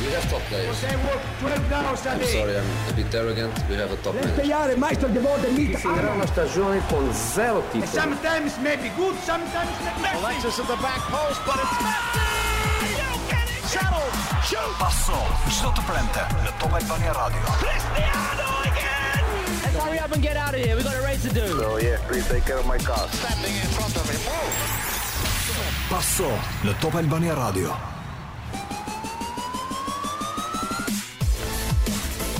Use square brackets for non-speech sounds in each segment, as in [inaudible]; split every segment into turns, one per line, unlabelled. We have top players.
They work 12 hours a
I'm
day.
sorry, I'm a bit arrogant. We have a top
Let's
manager.
stay out and master the world and meet the
Era uma stagione con zero
And
titoli.
Sometimes maybe good, sometimes not messy.
Alexis at the back post, but it's Messi! Shuttle, shoot!
Passo, çdo të premte në Top Albania Radio.
Cristiano again!
Let's hurry up and get out of here. We got a race to do.
So yeah, please take care of my car.
Standing in front of him. Oh,
Passo në Top Albania Radio.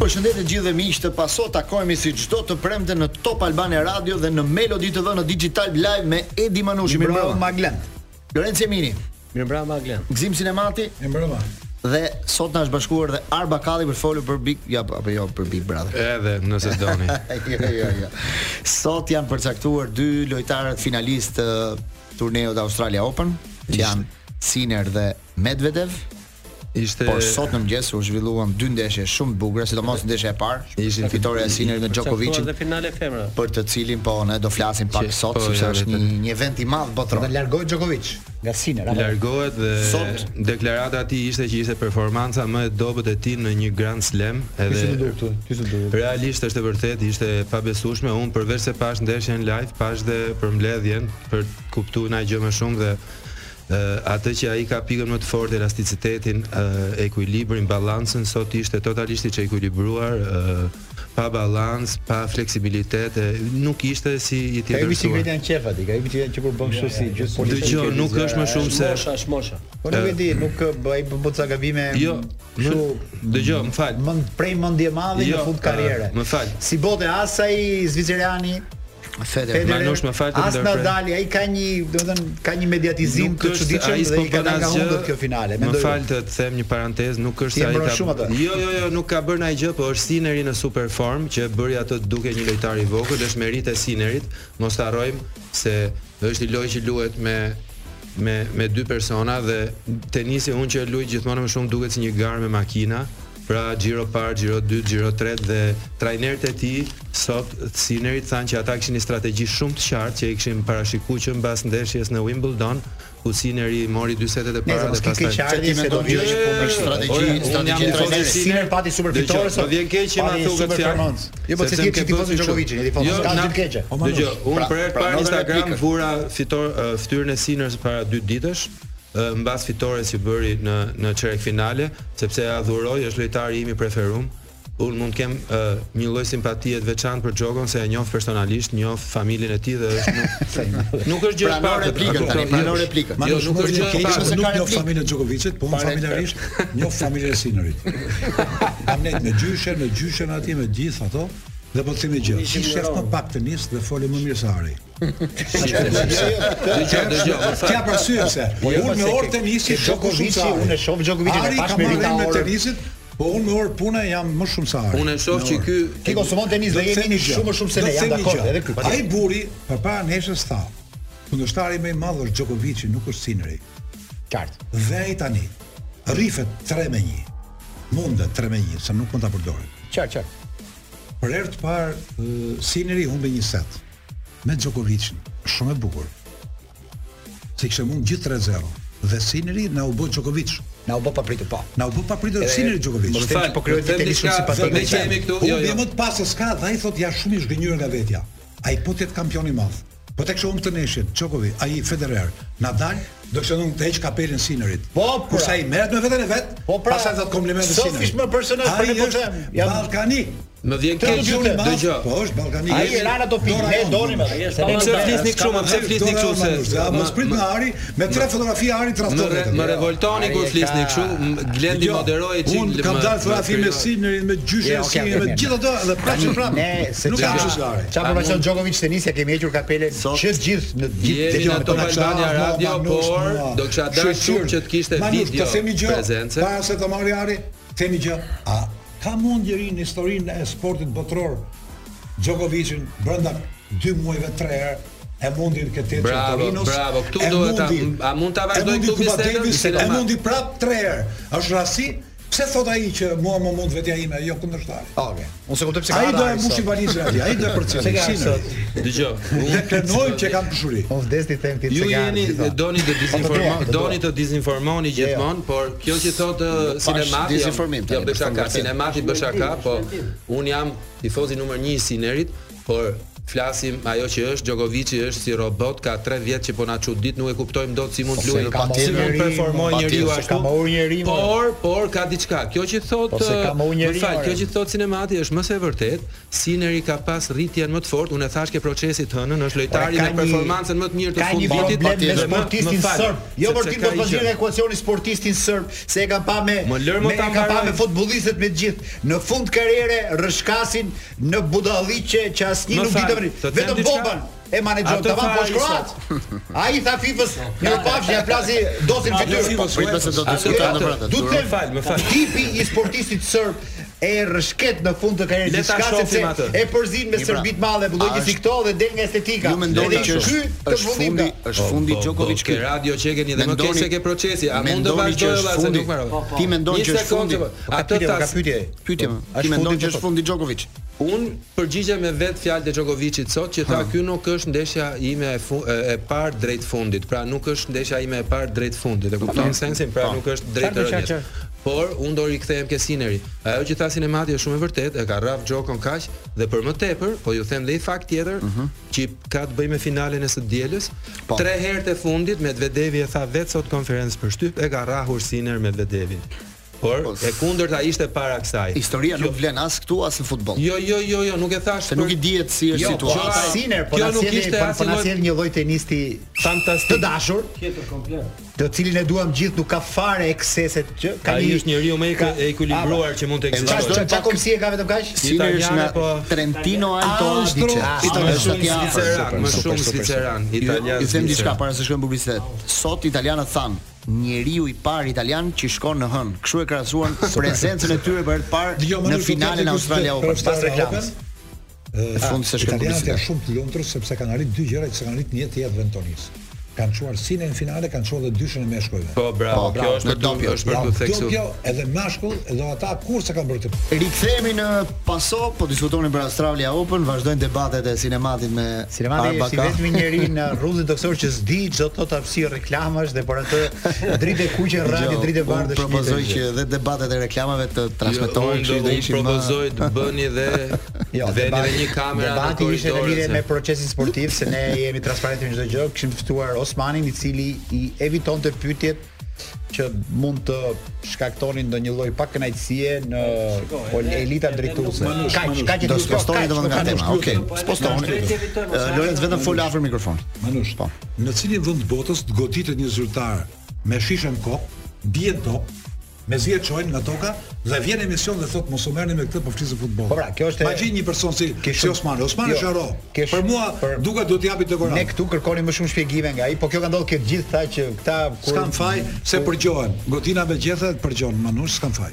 Përshëndetje gjithë dhe miq të paso takohemi si çdo të premte në Top Albania Radio dhe në Melodi TV në Digital Live me Edi Manushi Mirëmbrëma
Maglant.
Lorenzo Emini,
Mirëmbrëma Maglant.
Gzim Sinemati
Mirëmbrëma.
dhe sot na është bashkuar dhe Arba Kalli për të folur për Big ja apo jo për Big Brother.
Edhe nëse doni.
[laughs] jo, jo, jo. Sot janë përcaktuar dy lojtarët finalistë të turneut Australia Open, që janë Sinner dhe Medvedev,
Ishte
por Po, sot në mëngjes u zhvilluan dy ndeshje shumë të bukura, sidomos ndeshja e parë,
Ishin-
fitoria e Sinnerit me Djokovicin.
Dhe finale femra.
për të cilin po ne do flasim pak
Që-
sot
po,
sepse
ja,
është një,
vërtet.
një event i madh
Dhe
botëror.
largoi Djokovic nga Sinner apo.
largohet dhe
Sot-
deklarata e tij ishte që ishte performanca më e dobët e tij në një Grand Slam, edhe
këtu, ti si do.
Realisht është e vërtet, ishte e pabesueshme. Unë përveç se pash ndeshjen live, pash dhe për mbledhjen, për të kuptuar na gjë më shumë dhe ë, atë që ai ka pikën më të fortë, elasticitetin, ë, ekuilibrin, balancën, sot ishte totalisht i çekuilibruar, ë, pa balans, pa fleksibilitet, e, nuk ishte si i
Ka i
tjetër.
bicikletë janë qef aty, ka i bicikletë që kur bën kështu si gjithë
Dëgjoj, nuk është më shumë se
Po nuk e di, nuk ë, bë- ai bën ca gabime.
Jo, më,
kështu
dëgjoj, më fal.
mend prej mendje madhe në
Jo,
fund karriere.
ë, më fal.
Si bote asaj zvicerani,
Federer.
Federer,
Manush, më fal të
as
ndërprer.
Nadali, ai ka një, domethënë ka një mediatizim
Nuk
të
është-
çuditshëm
ai
dhe
s'po
i ka
bën
dhënë nga
asgjë.
hundët kjo finale.
Më
Mendoj. jo.
fal të të them një parantezë, nuk është se
Ti e
ai
mbron
ka.
shumë atë.
Jo, jo, jo, nuk ka bërë asgjë, po është Sineri në super form që bëri atë të duke një lojtar i vogël, është meritë e Sinerit. Mos ta harrojmë se është një lojë që luhet me me me dy persona dhe tenisi unë që e luaj gjithmonë më shumë duket si një garë me makina. Pra Giro par, Giro 2, Giro 3 dhe trajnerët e tij sot Sinerit thanë që ata kishin një strategji shumë të qartë që i kishin parashikuar që mbas ndeshjes në Wimbledon ku Sineri mori dy setet e
Nëse
para
mos
dhe
ke
Që
pastaj
keq
ti
ardhi se do
mendon
të
që është punë për strategji,
Ore, unë
strategji
jam i
Trajneri
Sinner-
Sinner pati super
Dëgjoj,
fitore sot.
Po vjen keq që na
Pati
thuket
super performance. Jo, po se ti ti tifozë Djokovicin, e tifozë
Jo,
ka gjithë keqe.
Po, Dëgjoj, unë
pra-
për herë të
pra,
parë në
notën e
Instagram
pikën.
vura fitor ë, fytyrën e Sinners para dy ditësh ë, mbas fitores që bëri në në çerek finale, sepse ja dhuroj, është lojtari im i preferuar. Unë mund kem uh, një lloj simpatie të veçantë për Djogon se e njoh personalisht, njoh familjen e tij dhe është
[laughs]
nuk, nuk është gjë e
Pranon
pakët,
replikën
apo-
tani, pranon replikën.
Jo, nuk është gjë e
Ishte
pakët.
se ka replikë.
pra, familjen Djokovicit, po unë familjarisht njoh familjen e Sinnerit.
[laughs]
Kam net me gjyshe, me gjyshe aty me gjithë ato dhe po të themi gjë. Ishte më pak tenis dhe foli më mirë se Ari.
Dëgjoj, dëgjoj, më fal. Po, jo,
Kja arsye pse. Unë me orë tenisi Djokovici, unë e shoh Djokovicin e pashmëritë me tenisit, po unë me orë pune jam më shumë se Ari.
Unë e shoh që ky
Ti konsumon tenis dhe jemi shumë më shumë se ne, jam dakord, edhe ky. Ai burri përpara neshës tha, kundërshtari më i madh është Djokovici, nuk është Sineri. Qartë. Dhe ai tani rrifet 3 me 1. Mundet 3 me 1, se nuk mund ta përdorë.
Qartë, qartë.
Për herë të parë ë, Sineri humbi një set me Djokovicin. Shumë e bukur. Se kishte mund gjithë 3-0 dhe Sineri na u bë Djokovic.
Na u bë pa pritur, po.
Na u bë papritur Sineri Djokovic.
Më fal, po krijoj
tenis shumë simpatik.
Ne që jemi këtu,
Unë
jo,
bje
jo.
më të pasë s'ka dhe ai thotë ja shumë i zhgënjur nga vetja. Ai po të jetë kampion i madh. Po tek shohum të neshit, Djokovic, ai Federer, Nadal, do të thonë të heq kapelin Sinnerit.
Po, pra.
kurse ai merret me veten e vet,
Po, pra.
pastaj dha komplimente
Sof
Sinnerit.
ish më personazh, po ne po them,
Jam
jam-
ballkanik.
Më vjen
Kjo
keq,
është gjuni madh,
dëgjoj.
Po është ballkanik.
Ai e lana do pi,
Dora
ne
jonë.
donim atë. Se ne
Pse flisni kështu, më pse flisni kështu se
Ja, mos prit me Ari, me tre fotografi Ari
Më,
trafton.
re,
vetëm.
më revoltoni kur flisni kështu, m- Glendi
Jo,
moderoi çik.
Unë kam
më-
dalë fotografi
më
me
krijoi.
Sinnerin, me gjyshin
Ja,
e
okay,
Sinnerit, me
mirë.
gjithë ato dhe prapë që pra- prapë.
Ne se
nuk
çfarë-
kam shqiptare.
Çfarë po bashkon Djokovic tenisi, e kemi hequr kapele
Sot-
që të gjithë në të gjithë
Jemi
Dëgjoj,
në
me
Top
tona ksha,
Albania
mua,
Radio,
Manush,
por
mua.
do kisha dashur
Shqyrë,
që të kishte
Manush,
video
të themi gjë,
prezence.
Para se të marrë ari, themi gjë. A ka mund njëri në historinë e sportit botëror Djokovicin brenda 2 muajve 3 herë e mundin këtë tetë
Bravo, bravo, këtu duhet ta- a mund ta vazhdoj këtu bisedën?
bisedën? E mundi prap 3 herë. Është rasti Pse thot ai që mua më mund vetja ime, jo kundërshtari?
Okej. Unë se kuptoj pse ka
Ai do e
ardhur
mbushi
sot.
valizën atje, ai do e
Pse ka
përcjellë
ardhur sot?
sinën.
Dëgjoj. unë-
Ne krenojmë që kanë dashuri.
Unë vdes ti them ti
Ju
se ka.
jeni
si thua.
doni të
Po, Jo,
dizinformoni,
të dua, të
doni të dizinformoni gjithmonë, por kjo që thotë uh, sinemati,
dizinformim
jo
tani,
bësh
për
aka,
shkak të-
sinemati bësh aka, po un jam tifozi numër 1 i Sinerit, por flasim ajo që është Djokovic është si robot, ka 3 vjet që po na çudit, nuk e kuptojmë dot si mund
Po, se
luajë,
ka
si
marrë
mund
njeri,
performoj
po,
njeriu
patjetër, se
ashtu.
ka marrë njeri, mo.
Por, por ka diçka. Kjo që thotë,
Po, se ka
uh,
marrë njeri,
më fal,
more.
kjo që thotë sinemati është më se vërtet, Sineri ka pas rritjen më të fortë, unë e thash ke procesi të hënën, është lojtari
Ka
me
një-
performancën më të mirë të
ka një
fundit vitit,
problem me
patjetër.
sportistin
Më fal,
serb. Jo
sepse
por ti
ka
do të
një
bazojnë
gjë.
ekuacionin sportistin serb se e kanë pa me
Më lër më
me-
ta
e kanë pa
mbaroj.
me futbollistët me të gjithë. Në fund karriere rrëshkasin në budalliqe që asnjë
Më
nuk
fal,
ditë mëri.
të them
Vetëm
diçka?
Boban e
Atë
manaxhon tamam
tha
po
ai
shkroat. Ai i
[laughs]
tha FIFA-s, "Ju pafshi, ja flasi dosin fytyrë."
po
Prit pse do të diskutojmë në pranë.
Du të
Më fal, më
them,
fal.
tipi i sportistit serb e rëshket në fund të karrierës
Le ta
diçka
shohim
sepse
atë.
e përzin me
Një pra.
serbit madhe, bulloj
A
që si
është-
këto dhe del nga estetika.
Ju mendoni
Edhe
që
ky
është
të
është fundi,
fundimta.
është fundi
Po, po,
Djokovic
po,
ky.
Ke radio çekeni dhe më
Mendoni-
keq se ke procesi. A mund të
mendoni që
vazhdoj
është
valla se
fundi?
nuk merr.
Po, po. Ti mendon
Një
që është
sekondë,
fundi?
po,
Ka
Atë
pyetje, ka
tas-
pyetje.
Pyetje më.
është
Ti mendon
fundi
që është
Djokovic?
fundi Djokovic?
Un përgjigjem me vet fjalë të Djokovicit sot që tha ky nuk është ndeshja ime e, fu- e, e parë drejt fundit. Pra nuk është ndeshja ime e parë drejt fundit. E kupton sensin, pra nuk është drejt
Qartë, qartë,
rënjes. Por unë do rikthehem ke Sineri. Ajo që tha Sinemati është shumë e vërtetë, e ka rraf Gjokon kaq dhe për më tepër, po ju them dhe i fakt tjetër që ka të bëjë me finalen e së dielës.
Po.
Tre herë të fundit Medvedevi e tha vetë sot konferencë për shtyp e ka rrahur Siner Medvedevin. Por
Po,
e kundërta ishte para kësaj.
Historia nuk vlen as këtu as në futboll.
Jo, jo, jo, jo, nuk e thash.
Se nuk
për-
i dihet si është
Jo, po
Gjoa-
situata.
ata Sinner, po
kjo
na
nuk
sjellni
ishte
po- po
asnjë
na
lloj-
sjell një lloj tenisti
Fantastik.
të dashur,
Tjetër komplet.
të cilin e duam gjithë, nuk ka fare ekseset që ka
Ai është njeriu më i
ka-
e ekuilibruar që mund të
Çfarë
ekzistojë.
çfarë çfarë komsi e ka vetëm kaq?
Sineri është
Italiane,
nga
po-
Trentino Alto
Austro-
Adige.
Austro-
Është atje
Shumë
afër.
Zviceran, më shumë Zviceran, italian.
Ju them diçka
zviceran.
para se shkojmë në publicitet. Sot italianët than njeriu i parë italian që shkon në hën. Kështu e krahasuan prezencën e tyre për herë të
Dëgjoj, më
parë në
nuk
finalen e
kuptoj
Australia
kush
Open
do- për
pas
Australia
reklamës.
Open,
Në fund se shkon
Italianët janë
publicitet.
shumë të lumtur sepse kanë arrit dy gjëra që s'kan arrit një jetë jetë ventonisë. Kanë çuar sinë në finale, kanë çuar edhe dyshën e meshkujve.
Po, bravo,
Po,
kjo
bravo,
është
në
për tu,
dopje.
është për tu
do
theksu.
kjo edhe mashkull, edhe ata kur se kanë bërë këtë.
Rikthehemi në paso, po diskutonin për Australia Open, vazhdojnë debatet e sinematit me
Sinemati është i
Arbaka.
vetmi njeri
[laughs]
në rrugën toksor që s'di çdo thot hapësirë reklamash dhe për atë dritë e kuqe në radio,
Dëgjoj,
dritë e
Jo, unë
bardhë është
Propozoj që edhe debatet e reklamave të transmetohen,
do
kështu do
unë
ishin më
propozoj të bëni dhe
[laughs]
Jo,
vëni
debati-
edhe një kamerë në
Debati ishte në
korridor.
lidhje me
pra-
se-
procesin sportiv se ne jemi transparentë në çdo gjë. Kishim ftuar Osmanin i cili i evitonte pyetjet që mund të shkaktonin ndonjë lloj pakënaqësie në pol- elita drejtuese. Kaq, kaq e
do
di, po,
spostoni
kaq,
domon
nuk
nga
ka
tema.
shkruar.
Okej, spostoni. Eh, Lorenz vetëm fol afër mikrofon.
Manush,
Po.
në cilin vend të botës të goditet një zyrtar me shishën kop, bie top, me zi e çojnë nga toka dhe vjen emision dhe thot mos u merrni me këtë po flisë futboll.
Po pra, kjo është e-
Imagjin një person si,
Ke
si
shumë-
Osmani, Osmani
Jo,
është hero.
ke shumë-
Për mua
për-
duket do t'i japi dekorat.
Ne këtu kërkonim më shumë shpjegime nga ai, po kjo ka ndodhur këtë gjithë tha që këta kur
S'kan faj se përgjohen. Godina me gjethe përgjohen, Manush s'kan faj.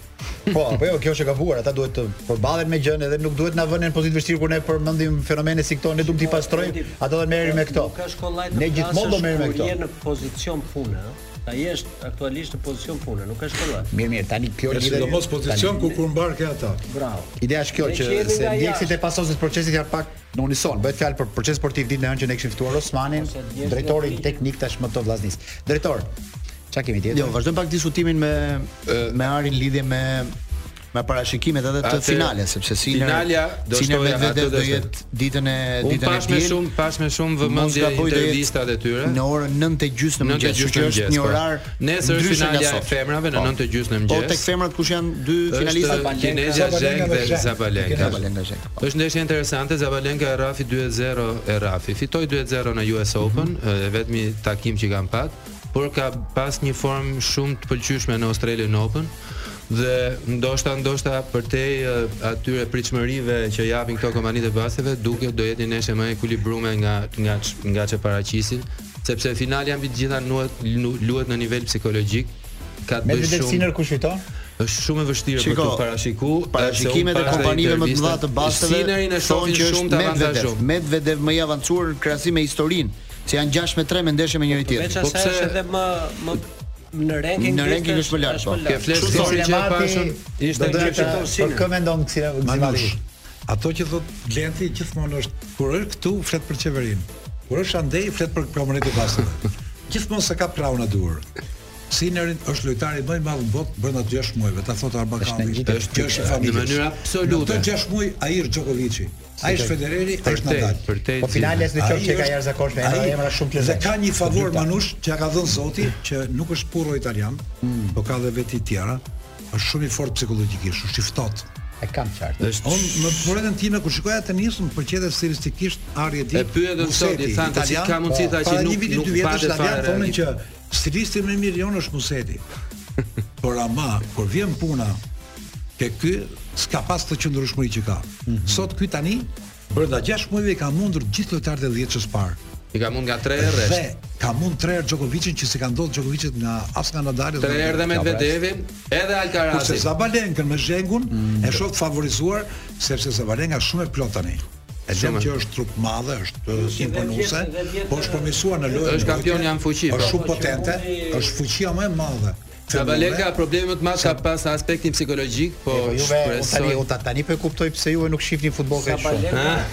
Po, po jo, kjo është e gabuar, ata duhet të përballen me gjën edhe nuk duhet na vënë në pozitë vështirë kur ne përmendim fenomene si këto, ne duhet t'i pastrojmë, ata do të merrin me këto.
Nuk ka shkollaj të
Ne gjithmonë do
flasësh
merrim me
kur
këto.
Je në pozicion pune, ëh. ta jesh aktualisht në pozicion pune, nuk ka shkollaj.
Mirë, mirë, tani kjo
Është
lidhet-
sidomos pozicion ku kur mbar ke ata.
Bravo.
Ideja është kjo
Ne
që
qemi
se
nga
ndjekësit
jashtë.
e pasosit të procesit janë pak në unison. Bëhet fjalë për proces sportiv ditën e hënë që ne kishim ftuar Osmanin,
Ose ndjekësit
drejtorin
nga
teknik tashmë të vllaznis. Drejtor, çka kemi tjetër?
Jo, vazhdojmë pak diskutimin me eh, me Arin lidhje me me parashikimet edhe të
Atë-
finales, sepse Sinner
Finalja do
Sinner
shtoja-
Medvedev
atë do
do
shtoja.
jetë ditën e
Unë
ditën e
pash me
diel.
shumë, pash me shumë vëmendje intervistat e tyre.
Në orën 9:30 në
Nëntë
mëngjes,
gjysmë
që është
në mëngjes,
një
po.
orar
Nesër është
ndryshe nga
finalja e
sot.
femrave në
Po.
9:30 në
Po
mëngjes.
tek femrat kush janë dy finalistat?
Është Kinezja Zheng
Zabalenka
dhe
dhe Zheng.
Zabalenka.
Zabalenka, Zheng, po.
Është ndeshje interesante, Zabalenka e Rafi 2-0 e Rafi. Fitoi 2-0 në US Open, e vetmi takim që kanë pat, por ka pas një formë shumë të pëlqyeshme në Australian Open dhe ndoshta ndoshta për te atyre pritshmërive që japin këto kompanitë e baseve duke do jetë një neshe më e ekuilibruar nga nga ç- nga çe paraqisin sepse finalja mbi të gjitha nuhet lu- luhet në nivel psikologjik ka të
Me
bëjë
Medvedev
shumë
Sinner kush fiton?
është shumë e vështirë
Shiko,
për të parashiku
parashikimet
se
e
unë pash
kompanive më të
intervista.
mëdha të basteve
Sinerin e
thonë
shohin
që
shumë të
Medvedev,
avantazhum.
Medvedev më i avancuar në krahasim me historinë, që janë 6 me 3 me ndeshje me njëri
Veç
tjetrin.
Po
asaj
pse-
është edhe më më në ranking
Në ranking është më lart, po.
Ke flesh historinë që e pashën, ishte
do
në
të
Shqipëri.
Po kë mendon Ksina
Manush,
Gzimali?
ato që thot Glenti gjithmonë është kur është këtu flet për qeverinë. Kur është andej flet për promonet e
[laughs]
basave. gjithmonë se ka praun e dur. Sinerin është lojtari më i madh në botë brenda 6 muajve, ta thot
Është në
Arbakani.
ngjitë
Është që është i
në
familjes.
mënyrë absolute.
Në 6 muaj ai është Djokovici, ai është Federeri,
Për
është
te,
Nadal.
për te.
Po finales në
Ai
qoftë që ka
është-
jashtëzakonshme, ai
ai-
emra shumë të
Dhe ka
lezetshme.
një favor
Të dyta.
Manush që ja ka dhënë Zoti që nuk është purro italian,
Mm.
po ka dhe veti tjera, është shumë i fortë psikologjikisht, është i ftohtë.
E kam qartë.
Është
On në porenën time kur shikoja tenisin, përqete stilistikisht Arje di.
E pyetën sot, i thanë se si ka mundësi tha që nuk- nuk patet fare
Thonë
reagim.
që stilisti më i mirë jon është Museti. Por ama kur vjen puna ke ky s'ka pas të qëndrueshmëri që ka.
Mhm.
Sot ky tani brenda 6 muajve i ka mundur gjithë lojtarët e 10 çës parë.
I ka mund nga tre herë.
Dhe ka mund tre herë Djokovicin që se ka ndodhur Djokovicit nga as nga Nadali
Tre herë dhe Medvedevin, edhe
Kurse
Alcarazin.
Zabalenkën me Zhengun
Mm,
e shoh të favorizuar sepse Zabalenka është shumë e plot tani. E lëm
Shumë.
që është trup madhe, është
Dhe
imponuese,
vjetë- dhe vjetë-
po është përmirësuar në lojë.
Është
në
kampion
lojë,
janë fuqi, po.
Është shumë potente, është fuqia më e madhe.
Zabalenka problemi më të madh ka pas aspektin psikologjik, po
Po juve unë tani
shpresoj.
unë ta- tani po e kuptoj pse juve nuk shihni futboll kaq shumë.
Sabalenka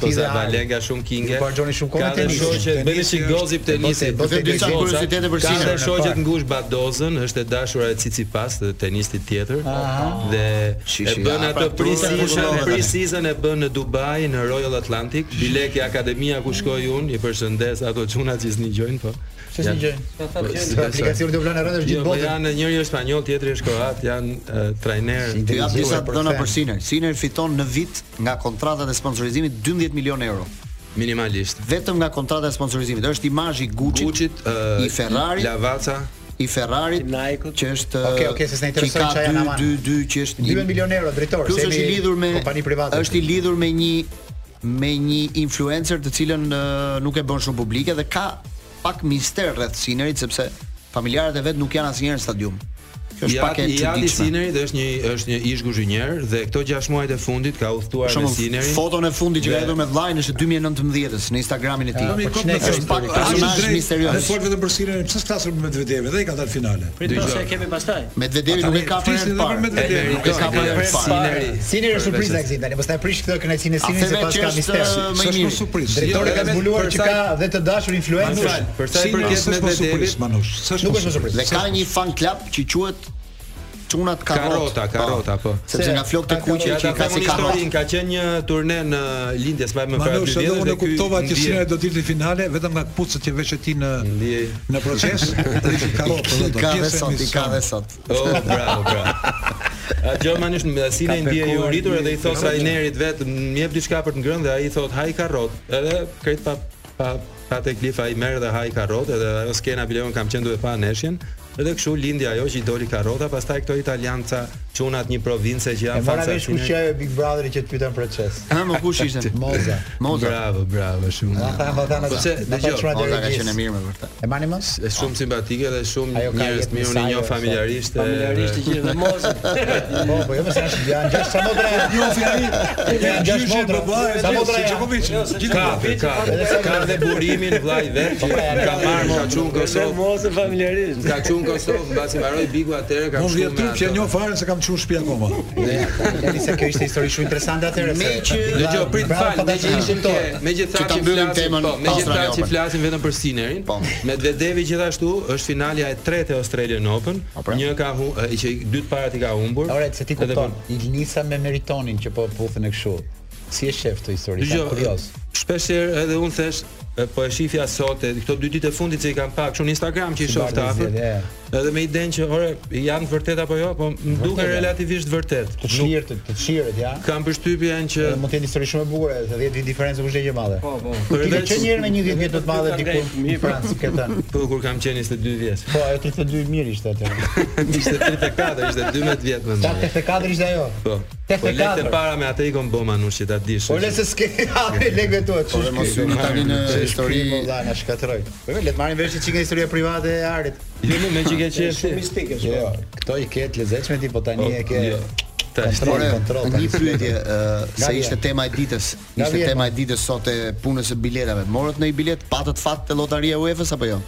Po
Ti dhe
Zabalenka shumë kinge.
Ju po harxhoni shumë kohë
Ka
në
dhe
tenis.
shoqe,
Tenisi
bëni si
është-
gozi për tenisin.
Po se-
Vetëm
po se-
disa
goza.
kuriozitete për
Ka dhe
Sinner.
shoqet
parë.
ngush Badozën, është e dashura e Tsitsipas, dhe tenistit tjetër, dhe e
Shishi,
bën
a,
atë
pra,
pre-season,
kurse-
pre-season e bën në Dubai, në Royal Atlantic, bilek i akademia ku shkoj unë, i përshëndes ato çuna që s'ni gjojnë, po.
Pse si
Janë-
gjë?
po
Aplikacioni do vlen në rreth është
Jo,
gjithë
po
botën.
janë njëri është spanjoll, tjetri është kroat, janë e, trajner.
Të jap disa
Për
dona
fen.
për Sinner. Sinner fiton në vit nga kontratat e sponsorizimit 12 milionë euro.
Minimalisht.
Vetëm nga kontrata e sponsorizimit. Është imazhi Gucci,
Gucci,
i Ferrari,
Lavaca,
i Ferrarit,
Nike-ut.
që është
Okej, okej, se s'na
që
intereson
ka
çfarë janë
dy-
aman.
dy- dy që është
2 milionë euro drejtor,
Plus
se
është i
jemi
lidhur me
kompani private.
Është i lidhur me një me një influencer të cilën ë, nuk e bën shumë publike dhe ka pak mister rreth Sinerit sepse familjarët e vet nuk janë asnjëherë në stadium. Kjo është pak e
I jati
çuditshme.
Sineri dhe është një është një ish guzhinier dhe këto 6 muajt e fundit ka udhëtuar me
Shumë
Sinerin.
foton e fundit që ka hedhur me vllajin është e 2019-s në Instagramin e tij.
Kemi
Po
kop në
çnek, është pak personazh
Ne
misterios.
po, fol vetëm për Sinerin, pse s'flasim për Medvedevin dhe i ka dalë finale.
Pritëm se e kemi pastaj.
Medvedevi nuk e ka për herë
flisni
të
dhe për
parë.
E
Medvedevin.
Nuk e
meriton,
ka
e
për
meriton.
herë të parë.
Sineri.
Sini është surprizë ai Zidane, mos ta prish këtë kënaqësinë e
A
Sinit
theve
se pas
që
ka
është,
mister.
ë, më i
S'është
miri.
për surprizë.
Drejtori
Jo,
ka
edhe
zbuluar
për
që
sa-
ka dhe të dashur
Manush,
influencer.
për sa i
Sinner
përket
s'është për
Medvedevit,
surprizë, Manush, s'është po
Nuk
për
është më surprizë.
Dhe ka një fan club që quhet Çunat
Karota, karota, po.
Sepse nga flokët e kuqe
Ja
që
ta
i ka
them
si
unë
karot.
historinë, ka qenë një turne në lindje s'pa më para
Manush,
dy
edhe
vjetësh
unë
dhe
e
ky
kuptova që
ndje-
Sinera do të ishte në finale vetëm nga kputucët që veshë ti në
Ndjej.
në proces, dhe ishte karrotë Po, do të
Ka dhe
gjithë
sot, i ka
emision.
dhe sot.
Oh, bravo, bravo. A Gjermani është në Sinë e ndje i
përkuar
uritur edhe i
një-
thot trajnerit vetë, më jep diçka për të ngrënë dhe ai i thot haj karrot. Edhe krejt pa pa pa teklif ai merr dhe haj karrot edhe ajo skena bileon kam qenë duke pa neshjen. Edhe kështu lindi ajo që i doli karrota, pastaj këto italianca çunat një province që
E
janë
mora
fansa.
vesh kush që ajo Big Brotheri që të pyetën për çes.
Ha, më kush ishte?
Moza.
Moza.
Bravo, bravo, shumë.
Na tha na tha na.
Po se, dëgjoj,
Moza ka qenë e mirë me vërtet.
E mani mos?
Është shumë simpatike dhe shumë
Ajo ka
njerëz
jetë
të mirë,
në
unë i njoh
sajë,
familjarisht. e-
Familjarisht i gjithë dhe mosë.
Po, po, jo më sa është janë gjashtë sa modra.
Jo fjali.
Ja,
Ja
gjashtë
gjashtë
motra. Sa motra janë?
Jo, se
Djokovic.
Ka, ka, ka dhe burimin vllai vet
Po,
që ka marrë ka çun
Dhe
Kosovë.
mosë familjarisht.
Ka çun Kosovë, mbasi mbaroi Biku atëherë ka
Mos
shkuar
vjen
me
trup që
ato.
njoh fare se kam çuar shtëpi akoma.
Tani se kjo ishte histori shumë interesante atëherë.
Me
se-
që-
Dëgjoj, prit
Bravo,
fal, me që
fantastik.
ishim ke, me që
Që ta
thash që
mbyllim
flasim,
temën
po, me që
Australian
thash që
Open.
flasim vetëm për Sinerin.
Po.
Medvedevi gjithashtu është finalja e tretë e Australian Open.
pra.
Një ka hu, e, që i- dy të parat i ka humbur.
Ore, se ti
Edhe
kupton, Ilnisa me Meritonin që po puthen e kështu. Si e shef këtë histori? Jam
Dgjoj,
kurioz.
shpesh herë edhe unë thesh e, po e shifja sot e, këto dy ditë e fundit që i kam pak, kështu në Instagram që i
Si
shoh të
bartë
afërt.
zgjedhje,
Edhe me idenë që ore janë të vërtet apo jo, po më duket
Vërtet, ja.
relativisht vërtet.
Të çlirt, të- të çlirt, ja.
Kam përshtypjen që
Edhe Mund të jetë histori shumë e bukur, edhe 10 vjet diferencë kushtë gjë e madhe.
Po, po.
Ti ke
përveç-
qenë njëherë me 10 vjet më të madhe diku në Francë, ke thënë.
po kur kam qenë 22 vjeç.
Po, ajo 32 mirë ishte atë.
Ishte 34, ishte 12 vjet më
Ta
vonë.
84 ishte ajo.
Po. Po lekë
84.
para me atë i kom bë manushi ta dish.
Po le se s'ke [laughs] hapë lekëve tua. Po
Dhe mos hyni tani në histori.
Po valla na shkatroi. Po le të marrim vesh çikë historia private e Arit.
Jo, nuk me që ke qenë
Shumë mistike
Jo,
shumë.
jo, këto i ke të lezetshme ti, po tani e ke.
Jo. Tash
Kontrol,
Ore,
kontrol.
një pyetje, ë,
Nga
se ishte
vjen.
tema e ditës.
Nga
Ishte
vjen,
tema e ditës sot e punës së biletave. Morët në i bilet, patët fat te lotaria e UEFA-s apo jo?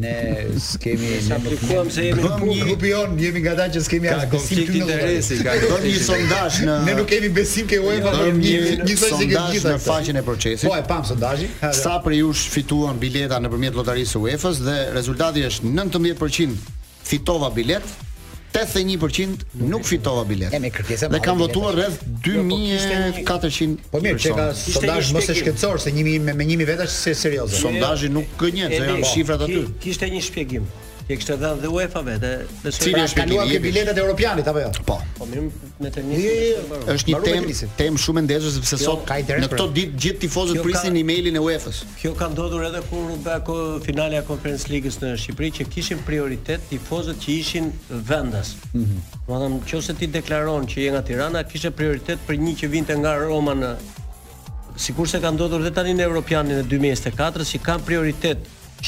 Ne s'kemi
Ne aplikuam se jemi në
Grupi-
punë.
Grupi jon, jemi nga ata që s'kemi
Ka
as besim
konflikt
ty në
interesi, ka
lojë.
konflikt
Një sondazh në
Ne nuk kemi besim ke UEFA, por
Bëm
një
një
njësoj si ke
sondazh
gjitha
në
këto.
faqen e procesit.
Po e pam sondazhin. Ha, dhe-
Sa për jush fituan bileta nëpërmjet lotarisë së UEFA-s dhe rezultati është 19% fitova bilet, 81% nuk fitova bilet.
E, me kërkesa
Dhe
madhe
kanë votuar
biletash.
rreth 2400.
Jo, Po mirë, që ka
persona.
Kishte
sondazh
një
mos e
shpjegim.
shkencor se njimi me, me njimi vetë është se serioze.
Sondazhi nuk gënjen, se janë
Edi,
shifrat
ki-
aty.
Kishte një shpjegim. Që kishte dhënë dhe UEFA vetë. Dhe se-
Cili
Pra,
është
kaluam
vendimi
ke
i jepi?
biletat e europianit apo jo?
Po.
Po mirë me të
Jo, jo, jo.
njëjtin.
Është një
Mbaruam me
temë
Krisin.
temë shumë e ndezur sepse
Jo,
sot
ka interes
në
për-
këto ditë gjithë tifozët
Jo, ka-
prisin emailin e UEFA-s.
Kjo ka ndodhur edhe kur u bë ko- finalja e Conference Ligës në Shqipëri që kishin prioritet tifozët që ishin vendas. Mhm. Mm nëse ti deklaron që je nga Tirana, kishe prioritet për një që vinte nga Roma në sikur se ka ndodhur dhe tani në Europianin e 2024 që kanë prioritet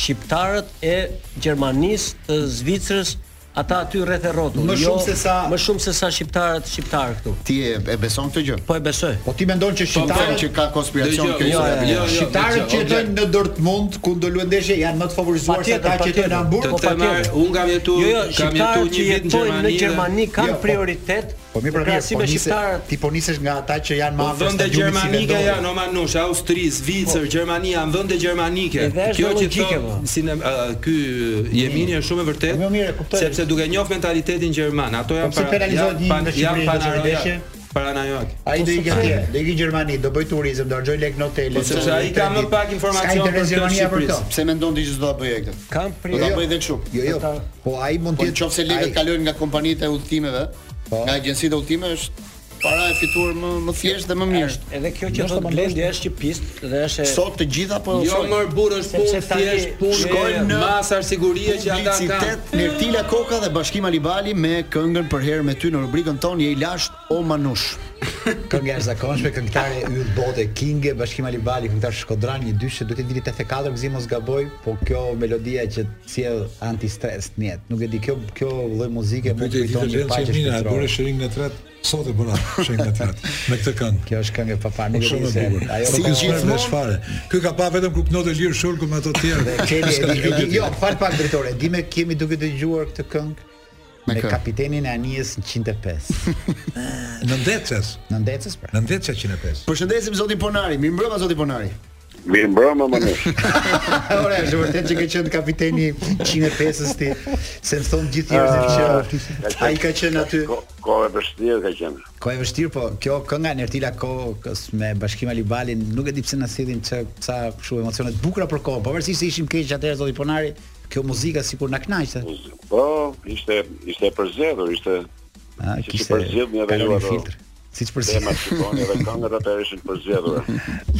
shqiptarët e Gjermanisë, të Zvicrës, ata aty rreth e rrotull.
Më shumë se sa-
më shumë se sa shqiptarët shqiptarë këtu.
Ti e, e beson këtë gjë?
Po e besoj.
Po ti mendon që
Po them
shqiptarët
që ka konspiracion kjo
Dëgjoj, jo,
histori
jo,
e biletave.
jo, jo.
Shqiptarët që jetojnë në Dortmund, ku do luajnë ndeshje, janë më të favorizuar se
Patjetër,
ata që jetojnë
patjetër.
në Hamburg.
Të
po,
them,
patjetër.
unë kam jetu,
Jo, jo,
kam jetu
shqiptarët
një
që
vit në
jetojnë në
Gjermani.
Gjermani
dhe-
kanë
Jo, po-
prioritet.
Po mirë, pra
në
mirë,
krahasim
po
me
nise,
shqiptarët.
ti po nisesh nga ata që janë më
Po
afër
vende
stadiumit si
gjermanike
Vendoria.
janë, o manush, Austri, Zvicër, Gjermania, janë vende gjermanike.
Edhe është Po. dhe logjike, po.
si ne ë, ky Jemini është shumë e vërtetë.
Po, mirë, e kuptoj. Po,
Sepse duke njoh mentalitetin gjerman, ato janë
pse penalizohet një nga Shqipëria që ndeshje?
Paranojak.
Ai do i ikë atje, do i ikë në Gjermani, do bëj turizëm, do harxoj lek në hotele.
Po sepse ai ka më pak informacion për këtë
Gjermania për
Shqipërisë.
këtë.
Pse mendon ti që do ta bëje këtë? Do
Kanë
ta
prioritet.
bëj edhe kështu.
Jo, jo. Po ai mund
Po
të
në qoftë se lekët kalojnë nga kompanitë e udhëtimeve,
Po.
nga agjencitë e udhëtime është para e fituar më më thjesht dhe më mirë.
Edhe kjo që thot Blendi është një pistë dhe është e-
Sot të gjitha po
Jo
ofrojnë.
mërë burë është
Sepse
punë,
tani
thjesht punë,
shkojnë
shkojnë në
në
masë arsigurie që ata kanë.
Publicitet Nertila Koka dhe Bashkim Alibali me këngën për herë me ty në rubrikën tonë je i lasht o manush.
Kënga e zakonshme, këngëtare yll bote Kinge, Bashkim Alibali, këngëtar Shkodran, një dyshë duhet të vitit 84, gëzim mos gaboj, po kjo melodia që sjell anti-stres në jetë. Nuk e di kjo kjo lloj muzike më
Pyetje e
kujton një
ditës vjen që
paqe
Mina e bëre
shpirtërore.
shërin në tret, sot e bëra shërin në tret me këtë këngë.
Kjo është këngë e papar, nuk e di
Shumë e
se.
bukur.
Ajo
Si
ka-
gjithmonë çfarë. Ky ka pa vetëm kupnotë lirë shulku me ato të tjerë.
Dhe kemi
S'ka
e
gjë
di-
tjetër.
jo, fal pak drejtore. Di me kemi duke dëgjuar këtë këngë
Me
me,
kë?
kapitenin e Anijes 105.
Në ndecës,
Në ndecës pra.
[laughs] në ndecës 105.
Përshëndesim zotin Ponari, mirëmbrëma zoti Ponari.
Mirë mbrëmë, manush.
Ora, është vërtet që ke qenë kapiteni 105-s ti, se më thon gjithë njerëzit
Ah,
që ai ka qenë aty.
Ko- Kohë e vështirë ka qenë.
Ko e vështirë, po kjo kënga e Nertila Kokës me Bashkim Alibalin, nuk e di pse na sillin çka ca kështu emocione të bukura për kohën, pavarësisht se ishim keq atëherë zoti Ponari, kjo muzika sikur na kënaqte.
Po, ishte ishte e përzgjedhur, ishte
Ah,
Siç i
kishte.
përzgjedhin edhe
kalori
ju ato.
filtr. Siç përzgjedhin.
tema
[laughs]
shikoni edhe këngët atë ishin përzgjedhura.